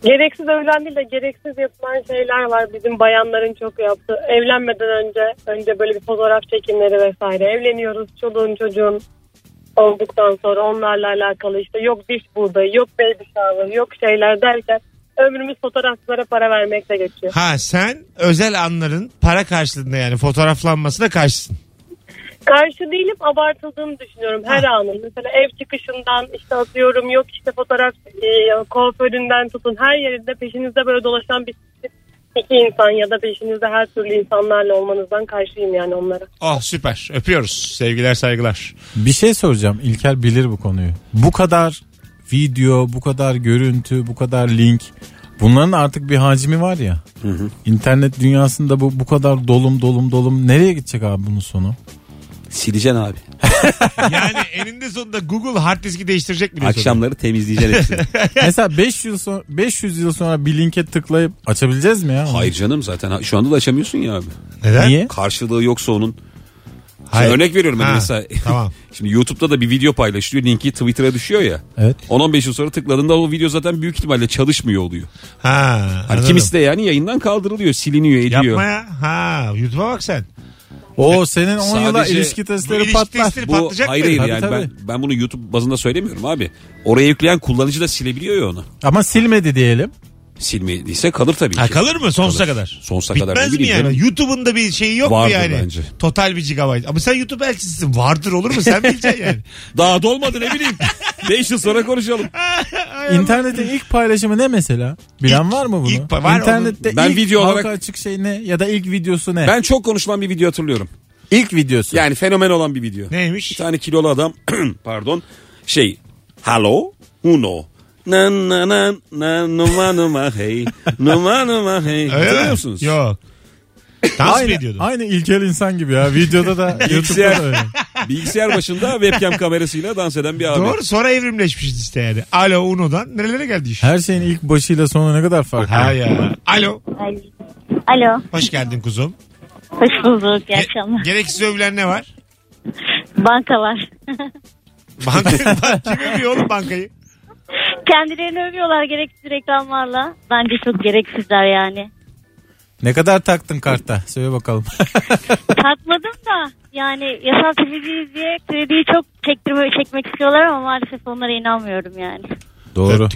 J: Gereksiz övülen değil de gereksiz yapılan şeyler var bizim bayanların çok yaptığı. Evlenmeden önce, önce böyle bir fotoğraf çekimleri vesaire. Evleniyoruz, çoluğun çocuğun olduktan sonra onlarla alakalı işte yok diş buğdayı, yok baby shower, yok şeyler derken ömrümüz fotoğrafçılara para vermekle geçiyor.
B: Ha sen özel anların para karşılığında yani fotoğraflanmasına karşısın.
J: Karşı değilim abartıldığını düşünüyorum her anın. Mesela ev çıkışından işte atıyorum yok işte fotoğraf e, kuaföründen tutun her yerinde peşinizde böyle dolaşan bir iki insan ya da peşinizde her türlü insanlarla olmanızdan karşıyım yani onlara.
B: Oh süper. Öpüyoruz. Sevgiler saygılar.
C: Bir şey soracağım. İlker bilir bu konuyu. Bu kadar video, bu kadar görüntü, bu kadar link. Bunların artık bir hacmi var ya. İnternet dünyasında bu bu kadar dolum dolum dolum nereye gidecek abi bunun sonu?
I: Sileceksin abi.
B: Yani eninde sonunda Google hard diski değiştirecek mi diye soruyorum.
I: Akşamları temizleyeceksin hepsini.
C: Mesela 5 yıl sonra 500 yıl sonra bir linke tıklayıp açabileceğiz mi ya? onu?
D: Hayır canım zaten ha- şu anda da açamıyorsun ya abi.
B: Neden?
C: Niye?
D: Karşılığı yoksa onun. Şimdi
B: Hayır.
D: örnek veriyorum ben
B: Ha,
D: mesela.
B: tamam.
D: Şimdi YouTube'da da bir video paylaşılıyor. Linki Twitter'a düşüyor ya.
C: Evet.
D: 10-15 yıl sonra tıkladığında o video zaten büyük ihtimalle çalışmıyor oluyor.
B: Ha,
D: Hani
B: anladım.
D: kimisi de yani yayından kaldırılıyor, siliniyor, ediyor.
B: Yapma ya. Ha, YouTube'a bak sen.
C: O senin 10 yıla
D: Sadece
C: ilişki
B: Bu
C: testleri
B: ilişki
C: patlar.
B: testleri
D: Bu
B: patlayacak
D: hayır
B: mı?
D: hayır
C: Tabii,
D: yani
C: tabii.
D: ben, ben bunu YouTube bazında söylemiyorum abi. Oraya yükleyen kullanıcı da silebiliyor ya onu.
C: Ama silmedi diyelim.
D: Silmediyse kalır tabii ki.
B: Ha, kalır mı sonsuza
D: Kalır.
B: kadar?
D: Sonsuza kadar ne
B: Bitmez mi
D: bileyim
B: yani?
D: canım.
B: YouTube'un da bir şeyi yok
D: Vardır
B: mu yani?
D: bence.
B: Total bir gigabayt. Ama sen YouTube elçisisin. Vardır olur mu? Sen bileceksin yani.
D: Daha dolmadı ne bileyim. 5 yıl sonra konuşalım.
C: İnternetin ilk paylaşımı ne mesela? Bilen var mı bunu?
B: ilk pa- var
C: İnternette
D: onun- Ben
C: ilk
D: video
C: halka
D: olarak-
C: açık şey ne? Ya da ilk videosu ne?
D: Ben çok konuşulan bir video hatırlıyorum.
C: İlk videosu.
D: Yani fenomen olan bir video. Bir
B: Neymiş?
D: tane kilolu adam pardon şey hello uno na na na na numa numa hey numa numa hey hatırlıyor musunuz?
B: Yok. Dans mı ediyordun?
C: aynı ilkel insan gibi ya. Videoda da YouTube'da da öyle.
D: Bilgisayar başında webcam kamerasıyla dans eden bir abi.
B: Doğru sonra evrimleşmişiz işte yani. Alo Uno'dan nerelere geldi iş?
C: Her şeyin ilk başıyla sonu ne kadar farklı.
B: Ha ya. Alo.
K: Alo.
B: Hoş geldin kuzum.
K: Hoş bulduk. İyi
B: Ge-
K: akşamlar.
B: Gereksiz övülen ne var?
K: Banka var.
B: Banka, Bak, kim övüyor oğlum bankayı?
K: Kendilerini övüyorlar gereksiz reklamlarla. Bence çok gereksizler yani.
C: Ne kadar taktın kartta? Söyle bakalım.
K: Takmadım da yani yasal temizliğiz diye krediyi çok çektirme, çekmek istiyorlar ama maalesef onlara inanmıyorum yani.
C: Doğru.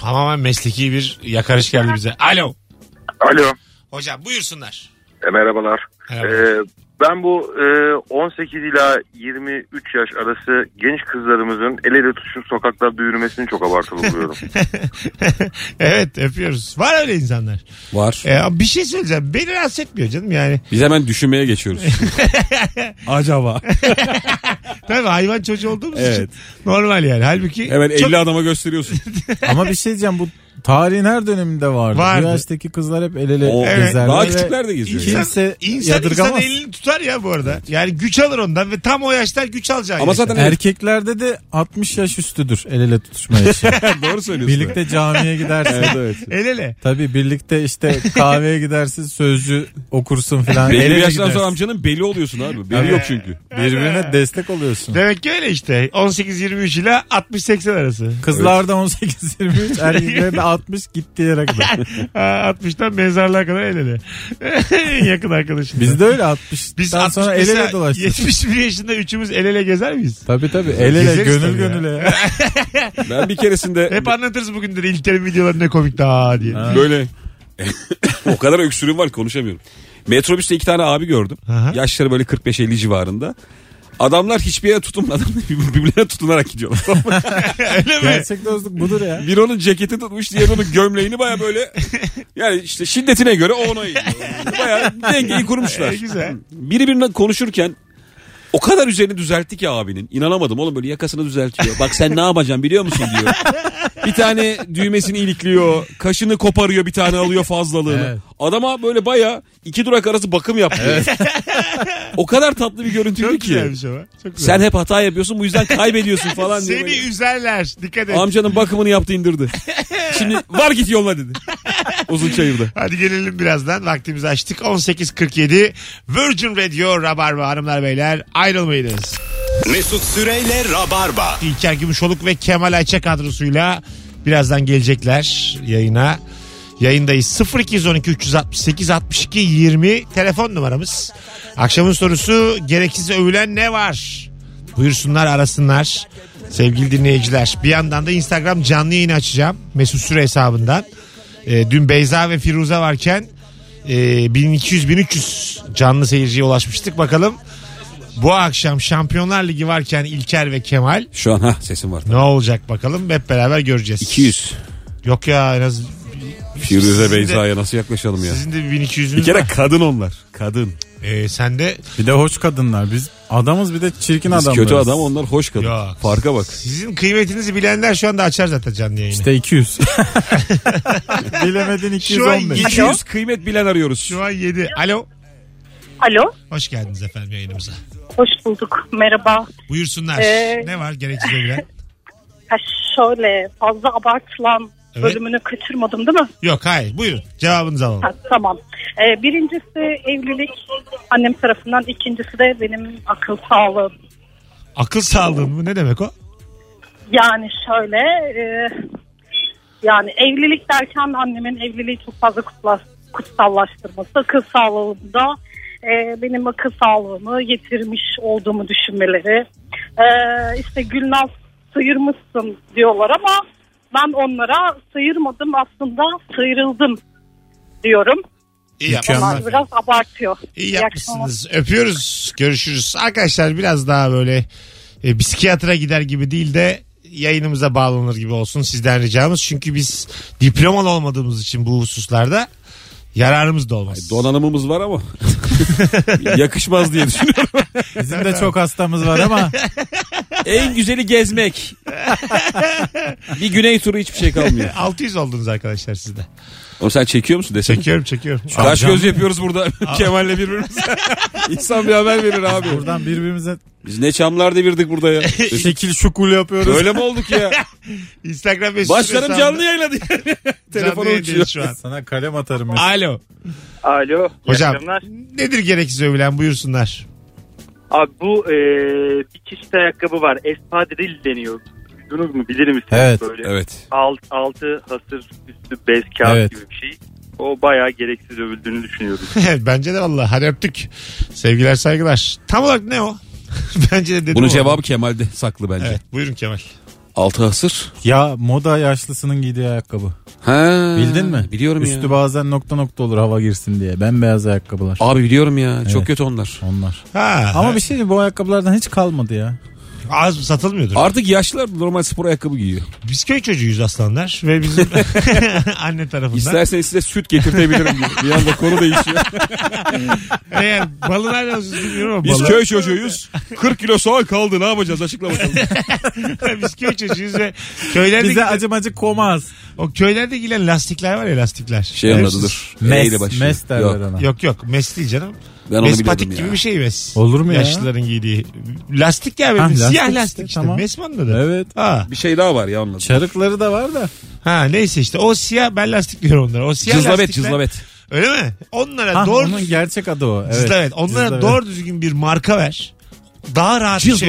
B: Tamamen mesleki bir yakarış geldi bize. Alo.
H: Alo.
B: Hocam buyursunlar.
H: E, merhabalar.
B: Merhaba.
H: E, ben bu e, 18 ila 23 yaş arası genç kızlarımızın el ele tutuşup sokaklarda yürümesini çok abartılı buluyorum.
B: evet öpüyoruz. Var öyle insanlar.
D: Var.
B: Ee, ama bir şey söyleyeceğim. Beni rahatsız etmiyor canım yani.
D: Biz hemen düşünmeye geçiyoruz.
C: Acaba.
B: Tabii hayvan çocuğu olduğumuz için
D: Evet.
B: normal yani. Halbuki
D: Hemen
B: çok
D: 50 adama gösteriyorsun.
C: Ama bir şey diyeceğim bu tarihin her döneminde vardı.
B: Vardı.
C: Bu yaştaki kızlar hep el ele
D: O,
B: Evet.
C: gezerler.
D: Ee, Daha
C: ve
D: küçükler de geziyor.
C: İki-
B: insan,
C: kimse
B: insan, insan
C: yadırgamaz.
B: elini tutar ya bu arada. Yani güç alır ondan ve tam o yaşlar güç alacağı
D: Ama
B: yaşlar.
D: zaten
C: Erkeklerde de 60 yaş üstüdür el ele tutuşma yaşı.
D: doğru söylüyorsun.
C: birlikte camiye gidersin.
D: Evet, evet.
B: El ele.
C: Tabii birlikte işte kahveye gidersin sözcü okursun falan. El
D: Belli
C: ele
D: bir yaştan
C: gidersin.
D: sonra amcanın beli oluyorsun abi. Beli yok çünkü.
C: Birbirine destek oluyorsun.
B: Demek ki öyle işte. 18-23 ile 60-80 arası.
C: Kızlarda 18-23 erkeklerde 60 gittiği yere kadar.
B: Aa, 60'tan mezarlığa kadar el ele. En yakın arkadaşım.
C: Biz de öyle 60.
B: Biz
C: Biz 60 sonra el ele dolaştık.
B: 71 yaşında üçümüz el ele gezer miyiz?
C: Tabii tabii el ele
B: Gezeriz
C: gönül
B: tabii ya.
C: gönüle. ya.
D: Ben bir keresinde
B: Hep anlatırız bugünleri İlker'in videoları ne komik daha diye.
D: böyle o kadar öksürüğüm var ki konuşamıyorum. Metrobüste iki tane abi gördüm.
B: Aha.
D: Yaşları böyle 45-50 civarında. Adamlar hiçbir yere tutunmadan birbirine tutunarak gidiyorlar.
B: Öyle mi?
C: Gerçek dostluk budur ya.
D: Bir onun ceketi tutmuş diğer onun gömleğini baya böyle yani işte şiddetine göre o ona eğiliyor. Baya dengeyi kurmuşlar.
B: E, güzel.
D: Biri birine konuşurken o kadar üzerini düzeltti ki abinin. İnanamadım oğlum böyle yakasını düzeltiyor. Bak sen ne yapacaksın biliyor musun diyor. Bir tane düğmesini ilikliyor. Kaşını koparıyor bir tane alıyor fazlalığını.
C: Evet.
D: Adama böyle baya iki durak arası bakım yaptı. o kadar tatlı bir görüntüydü
B: Çok
D: ki.
B: güzelmiş ama. Çok güzel.
D: Sen hep hata yapıyorsun bu yüzden kaybediyorsun falan diye.
B: Seni
D: böyle-
B: üzerler. Dikkat et.
D: Amcanın bakımını yaptı indirdi. Şimdi var git yolla dedi. Uzun çayırda.
B: Hadi gelelim birazdan. Vaktimizi açtık. 18.47 Virgin Radio Rabarba Hanımlar Beyler ayrılmayınız.
A: Mesut Süreyle Rabarba.
B: İlker Gümüşoluk ve Kemal Ayça kadrosuyla birazdan gelecekler yayına. Yayındayız 0212 368 62 20 telefon numaramız. Akşamın sorusu gereksiz övülen ne var? Buyursunlar arasınlar sevgili dinleyiciler. Bir yandan da Instagram canlı yayını açacağım Mesut Süre hesabından. E, dün Beyza ve Firuze varken e, 1200-1300 canlı seyirciye ulaşmıştık. Bakalım bu akşam Şampiyonlar Ligi varken İlker ve Kemal
D: Şu an ha sesim var.
B: ne olacak bakalım hep beraber göreceğiz.
D: 200.
B: Yok ya en az
D: Firuze
B: Sizin de-
D: Beyza'ya nasıl yaklaşalım ya?
B: sizin de 1200'ünüz
D: Bir kere
B: var.
D: kadın onlar. Kadın.
B: E, sen de
C: Bir de hoş kadınlar. Biz adamız bir de çirkin
D: Biz
C: adamlarız.
D: kötü adam onlar hoş kadın.
B: Yok.
D: Farka bak.
B: sizin kıymetinizi bilenler şu anda açar zaten canlı yayını.
C: İşte 200. Bilemedin
B: Şu an
C: 215.
D: 200 kıymet bilen arıyoruz.
B: Şu an 7. Alo.
K: Alo,
B: Hoş geldiniz efendim yayınımıza.
K: hoş bulduk. Merhaba.
B: Buyursunlar.
K: Ee,
B: Ne var gereksiz övülen?
K: Ha şöyle fazla abartılan
B: Evet.
K: bölümünü kaçırmadım değil mi?
B: Yok hayır buyurun cevabınızı alalım.
K: Ha, tamam. Ee, birincisi evlilik annem tarafından, ikincisi de benim akıl sağlığım.
B: Akıl sağlığın mı ne demek o?
K: Yani şöyle e, yani evlilik derken annemin evliliği çok fazla kutla- kutsallaştırması, akıl sağlığında e, benim akıl sağlığımı yitirmiş olduğumu düşünmeleri. E, işte Gülnaz sıyırmışsın diyorlar ama ben onlara sıyırmadım aslında sıyrıldım diyorum.
B: İyi,
C: Mükemmel.
B: yapmışsınız.
K: Onlar biraz abartıyor.
B: İyi
K: İyi akşamlar.
B: yapmışsınız. Öpüyoruz. Görüşürüz. Arkadaşlar biraz daha böyle e, psikiyatra gider gibi değil de yayınımıza bağlanır gibi olsun sizden ricamız. Çünkü biz diplomalı olmadığımız için bu hususlarda yararımız da olmaz.
D: Donanımımız var ama yakışmaz diye düşünüyorum.
C: Bizim de çok hastamız var ama
D: en güzeli gezmek. bir güney turu hiçbir şey kalmıyor.
B: 600 oldunuz arkadaşlar sizde.
D: Oğlum sen çekiyor musun desene?
B: Çekiyorum çekiyorum.
D: Kaş göz yapıyoruz burada Kemal'le birbirimize. İnsan bir haber verir abi.
C: buradan birbirimize
D: Biz ne çamlar devirdik burada ya.
C: şekil şukul yapıyoruz.
D: Böyle mi olduk ya?
B: Instagram mesut
D: Başkanım
B: hesabı-
D: canlı yayınladı.
B: canlı
D: Telefonu
B: yayındayız
D: uçuyor.
B: Şu an.
C: Sana kalem atarım. ya.
B: Alo.
H: Alo. iyi
B: Hocam
H: akşamlar.
B: nedir gereksiz övülen buyursunlar.
H: Abi bu e, bir çeşit ayakkabı var. Espadril deniyor. Duydunuz mu? Bilir misiniz?
C: Evet,
H: Böyle
D: Evet.
H: alt, altı hasır üstü bez kağıt
C: Evet.
H: gibi bir şey. O bayağı gereksiz övüldüğünü düşünüyorum.
B: Bence de vallahi hadi öptük. Sevgiler saygılar. Tam olarak ne o? Bence de dedim
D: Bunun
B: o.
D: cevabı Kemal'de saklı bence.
B: Evet buyurun Kemal.
D: Altı asır.
C: Ya moda yaşlısının giydiği ayakkabı.
D: Ha.
C: Bildin mi?
D: Biliyorum
C: Üstü
D: ya.
C: bazen nokta nokta olur hava girsin diye. Bembeyaz ayakkabılar.
D: Abi biliyorum ya. Çok
C: Evet.
D: kötü onlar.
C: Onlar.
B: Ha,
C: Ama bir şey diyeyim, bu ayakkabılardan hiç kalmadı ya.
B: az satılmıyordur.
D: Artık yaşlılar normal spor ayakkabı giyiyor.
B: Biz köy çocuğuyuz aslanlar ve bizim anne tarafından.
D: İsterseniz size süt getirtebilirim diyor. Bir anda konu değişiyor.
B: Eğer balın hala olsun bilmiyorum ama
D: Biz
B: balın-
D: köy çocuğuyuz. 40 kilo soğan kaldı ne yapacağız açıkla bakalım.
B: Biz köy çocuğuyuz ve köylerde,
C: Bize acımacık komaz.
B: o köylerde gilen lastikler var ya lastikler.
D: Şey
B: Biliyor
D: anladı
B: musunuz?
D: dur. E ile
C: Mes,
D: başlıyor.
C: mes derler
D: Yok.
C: ona.
B: Yok yok mes değil canım.
D: Ben onu
B: mes
D: biliyordum
B: patik
D: ya.
B: gibi bir şey mes.
C: Olur mu ya?
B: Yaşlıların giydiği. Lastik ya benim.
C: Ha, lastik
B: Siyah
C: işte,
B: lastik işte.
C: tamam.
B: Mes mi onun adı?
C: Evet.
B: Ha.
D: Bir şey daha var ya onun adı.
C: Çarıkları da var da.
B: ha neyse işte o siyah ben lastik diyorum onlara. O siyah
D: Cızlavet
B: lastikler-
D: cızlavet.
B: Öyle mi? Onlara
C: Ha,
B: doğru
C: onun
B: düzgün,
C: gerçek adı o. Evet.
B: Cızlavet. Onlara
C: Cızlavet.
B: doğru düzgün bir marka ver. Daha rahat bir şey.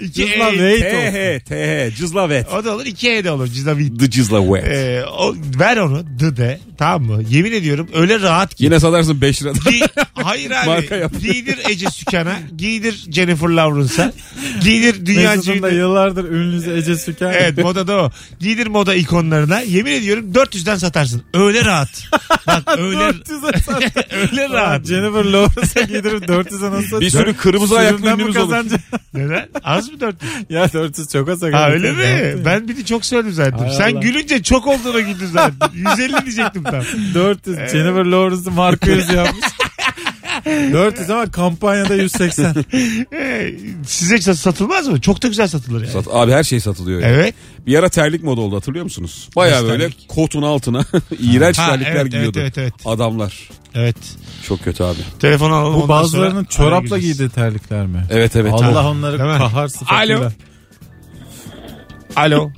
B: İki E.
C: Cızlavet.
D: Tehe tehe cızlavet.
B: O da olur. iki E de olur. Cızlavet.
D: The cızlavet.
B: Ee, o, ver onu. D de. Tamam mı? Yemin ediyorum öyle rahat ki.
D: Yine satarsın 5 lirada.
B: Gi- Hayır
D: Marka
B: abi.
D: yap.
B: giydir Ece Sükan'a. Giydir Jennifer Lawrence'a. Giydir dünya
C: Mesut'un da
B: cümle-
C: yıllardır ünlüsü Ece Süker.
B: Evet modada o. Giydir moda ikonlarına. Yemin ediyorum 400'den satarsın. Öyle rahat. Bak öyle,
C: 400'e sattı.
B: öyle rahat.
C: Jennifer Lawrence'a giydirip 400'e nasıl
D: Bir sürü kırmızı ayaklı
C: Sürümden mi
D: ünlümüz olur.
C: kazanacak?
B: Neden? Az mı 400?
C: ya 400 çok az.
B: Ha öyle mi? Ben bir de çok söyledim zaten.
C: Hay
B: Sen
C: Allah.
B: gülünce çok olduğuna güldün zaten. 150 diyecektim tam.
C: 400. Jennifer Lawrence'ı marka yüzü yapmış. 400 ama kampanyada 180.
B: Ee, size sa- satılmaz mı? Çok da güzel satılır yani.
D: Sat- abi her şey satılıyor ya.
B: Evet.
D: Bir ara terlik moda oldu hatırlıyor musunuz? Baya
B: Nasıl
D: böyle
B: terlik?
D: kotun altına iğrenç
B: Ha,
D: terlikler
B: evet,
D: giyiyordu.
B: evet, evet, evet.
D: Adamlar.
B: Evet.
D: Çok kötü abi.
B: Telefon alalım.
C: Bu
B: ondan
C: bazılarının
B: sonra
C: çorapla
B: araya gireceğiz.
C: giydiği terlikler mi?
D: Evet evet.
C: Allah
B: tamam.
C: onları
B: Değil mi?
C: kahar sıfatıyla.
B: Alo. Alo.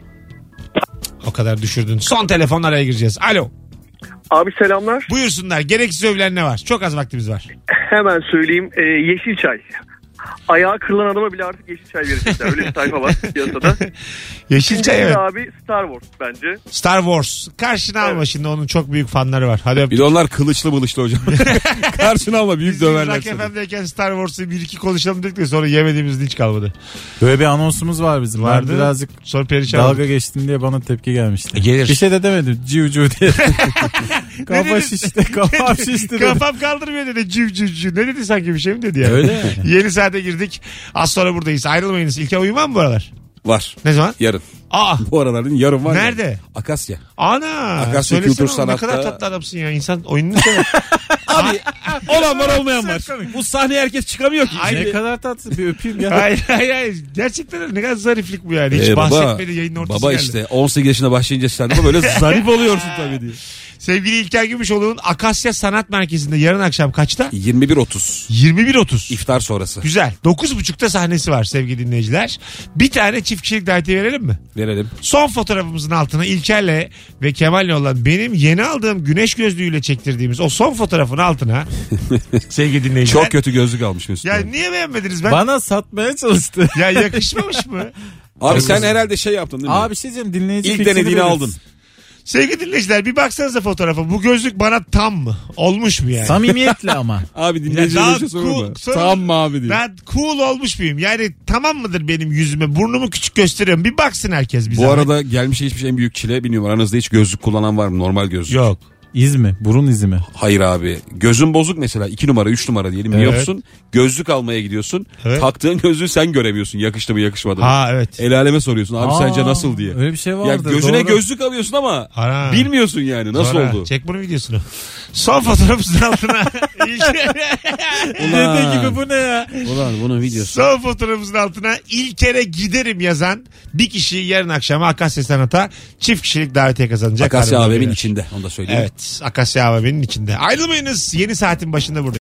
B: O kadar düşürdün. Son telefon araya gireceğiz. Alo.
L: Abi selamlar.
B: Buyursunlar. Gereksiz övülen ne var? Çok az vaktimiz var.
L: Hemen söyleyeyim. Ee, yeşil çay. Ayağı kırılan adama bile artık yeşil çay verecekler. Öyle bir tayfa var piyasada.
B: Yeşilçay evet.
L: abi Star Wars bence.
B: Star Wars. Karşına alma şimdi onun çok büyük fanları var. Hadi öptük.
D: Bir de onlar kılıçlı bılıçlı hocam. Karşına ama büyük döverler
B: Rock
D: seni.
B: FM'deyken Star Wars'ı bir iki konuşalım dedik de sonra yemediğimiz hiç kalmadı.
C: Böyle bir anonsumuz var bizim.
B: Vardı.
C: Vardı. Birazcık
B: Sonra perişan
C: dalga
B: olduk.
C: geçtim diye bana tepki gelmişti.
B: E, gelir.
C: Bir şey de demedim. Ciu ciu diye.
B: Ne
C: Kafa
B: dedin?
C: şişti. Kafam şişti. dedim.
B: Kafam kaldırmıyor dedi civ civ civ. Ne dedi sanki bir şey mi dedi ya?
C: Öyle mi?
B: Yeni saate girdik. Az sonra buradayız. Ayrılmayınız. İlker uyumam mı bu aralar?
D: Var.
B: Ne zaman?
D: Yarın.
B: Aa.
D: Bu araların yarın var ya.
B: Nerede?
D: Akasya.
B: Ana.
D: Akasya
B: Söylesene
D: Kültür
B: oğlum,
D: Sanat'ta-
B: Ne kadar tatlı adamsın ya. İnsan oyununu sever.
I: Olan var olmayan var. Bu sahneye herkes çıkamıyor ki.
C: Ne
I: Şimdi-
C: kadar tatlı bir öpeyim ya.
B: hayır hayır hayır. Gerçekten öyle. ne kadar zariflik bu yani. Hiç
D: Ee, baba-
B: bahsetmedi yayının ortası
D: Baba
B: geldi.
D: işte 18 yaşına başlayınca sen de böyle zarif oluyorsun tabii diye.
B: Sevgili İlker Gümüşoğlu'nun Akasya Sanat Merkezi'nde yarın akşam kaçta?
D: 21.30
B: 21.30.
D: iftar sonrası.
B: Güzel. 9.30'da sahnesi var sevgili dinleyiciler. Bir tane çift kişilik davetiye verelim mi?
D: Verelim.
B: Son fotoğrafımızın altına İlker'le ve Kemal'le olan benim yeni aldığım güneş gözlüğüyle çektirdiğimiz o son fotoğrafın altına sevgili dinleyiciler.
D: Çok kötü gözlük almış Mesut.
B: Ya
D: abi.
B: niye beğenmediniz ben?
C: Bana satmaya çalıştı.
B: Ya yakışmamış mı?
D: Abi sen herhalde şey yaptın değil mi?
C: Abi bir şey diyeceğim dinleyici
D: İlk
C: fikrini
D: denediğini
C: veririz.
D: aldın.
B: Sevgili dinleyiciler bir baksanıza fotoğrafa. Bu gözlük bana tam mı? Olmuş mu yani?
C: Samimiyetle ama.
D: Abi
B: Ya
D: dinleyicilerine
B: daha
D: şey sorma.
B: cool- sorun-
D: Tamam mı abi diye.
B: Ben cool olmuş muyum? Yani tamam mıdır benim yüzüme? Burnumu küçük gösteriyorum. Bir baksın herkes bize.
D: Bu arada gelmiş geçmiş en büyük çile bilmiyorum. Aranızda hiç gözlük kullanan var mı? Normal gözlük.
B: Yok.
C: İz mi? Burun izi mi?
D: Hayır abi. Gözün bozuk mesela. 2 numara 3 numara diyelim.
B: Evet.
D: Miyopsun. Gözlük almaya gidiyorsun.
B: Evet.
D: Taktığın gözlüğü sen göremiyorsun. Yakıştı mı yakışmadı mı?
B: Ha evet.
D: El aleme soruyorsun. Abi
C: Aa,
D: sence nasıl diye.
C: Öyle bir şey vardı.
D: Ya gözüne
C: doğru.
D: gözlük alıyorsun ama
B: Ana.
D: bilmiyorsun yani nasıl
B: Sonra şey
D: oldu.
B: Çek bunu videosunu. Son fotoğrafımızın altına İlker-
C: Dede gibi bu ne ya?
D: Ulan bunun videosu.
B: son fotoğrafımızın altına İlker'e giderim yazan bir kişi yarın akşama Akasya Sanat'a çift kişilik davetiye kazanacak.
D: Akasya
B: Hanımlar,
D: abimin
B: beyler.
D: içinde onu da söyleyeyim.
B: Evet Akasya abimin içinde. Ayrılmayınız yeni saatin başında burada.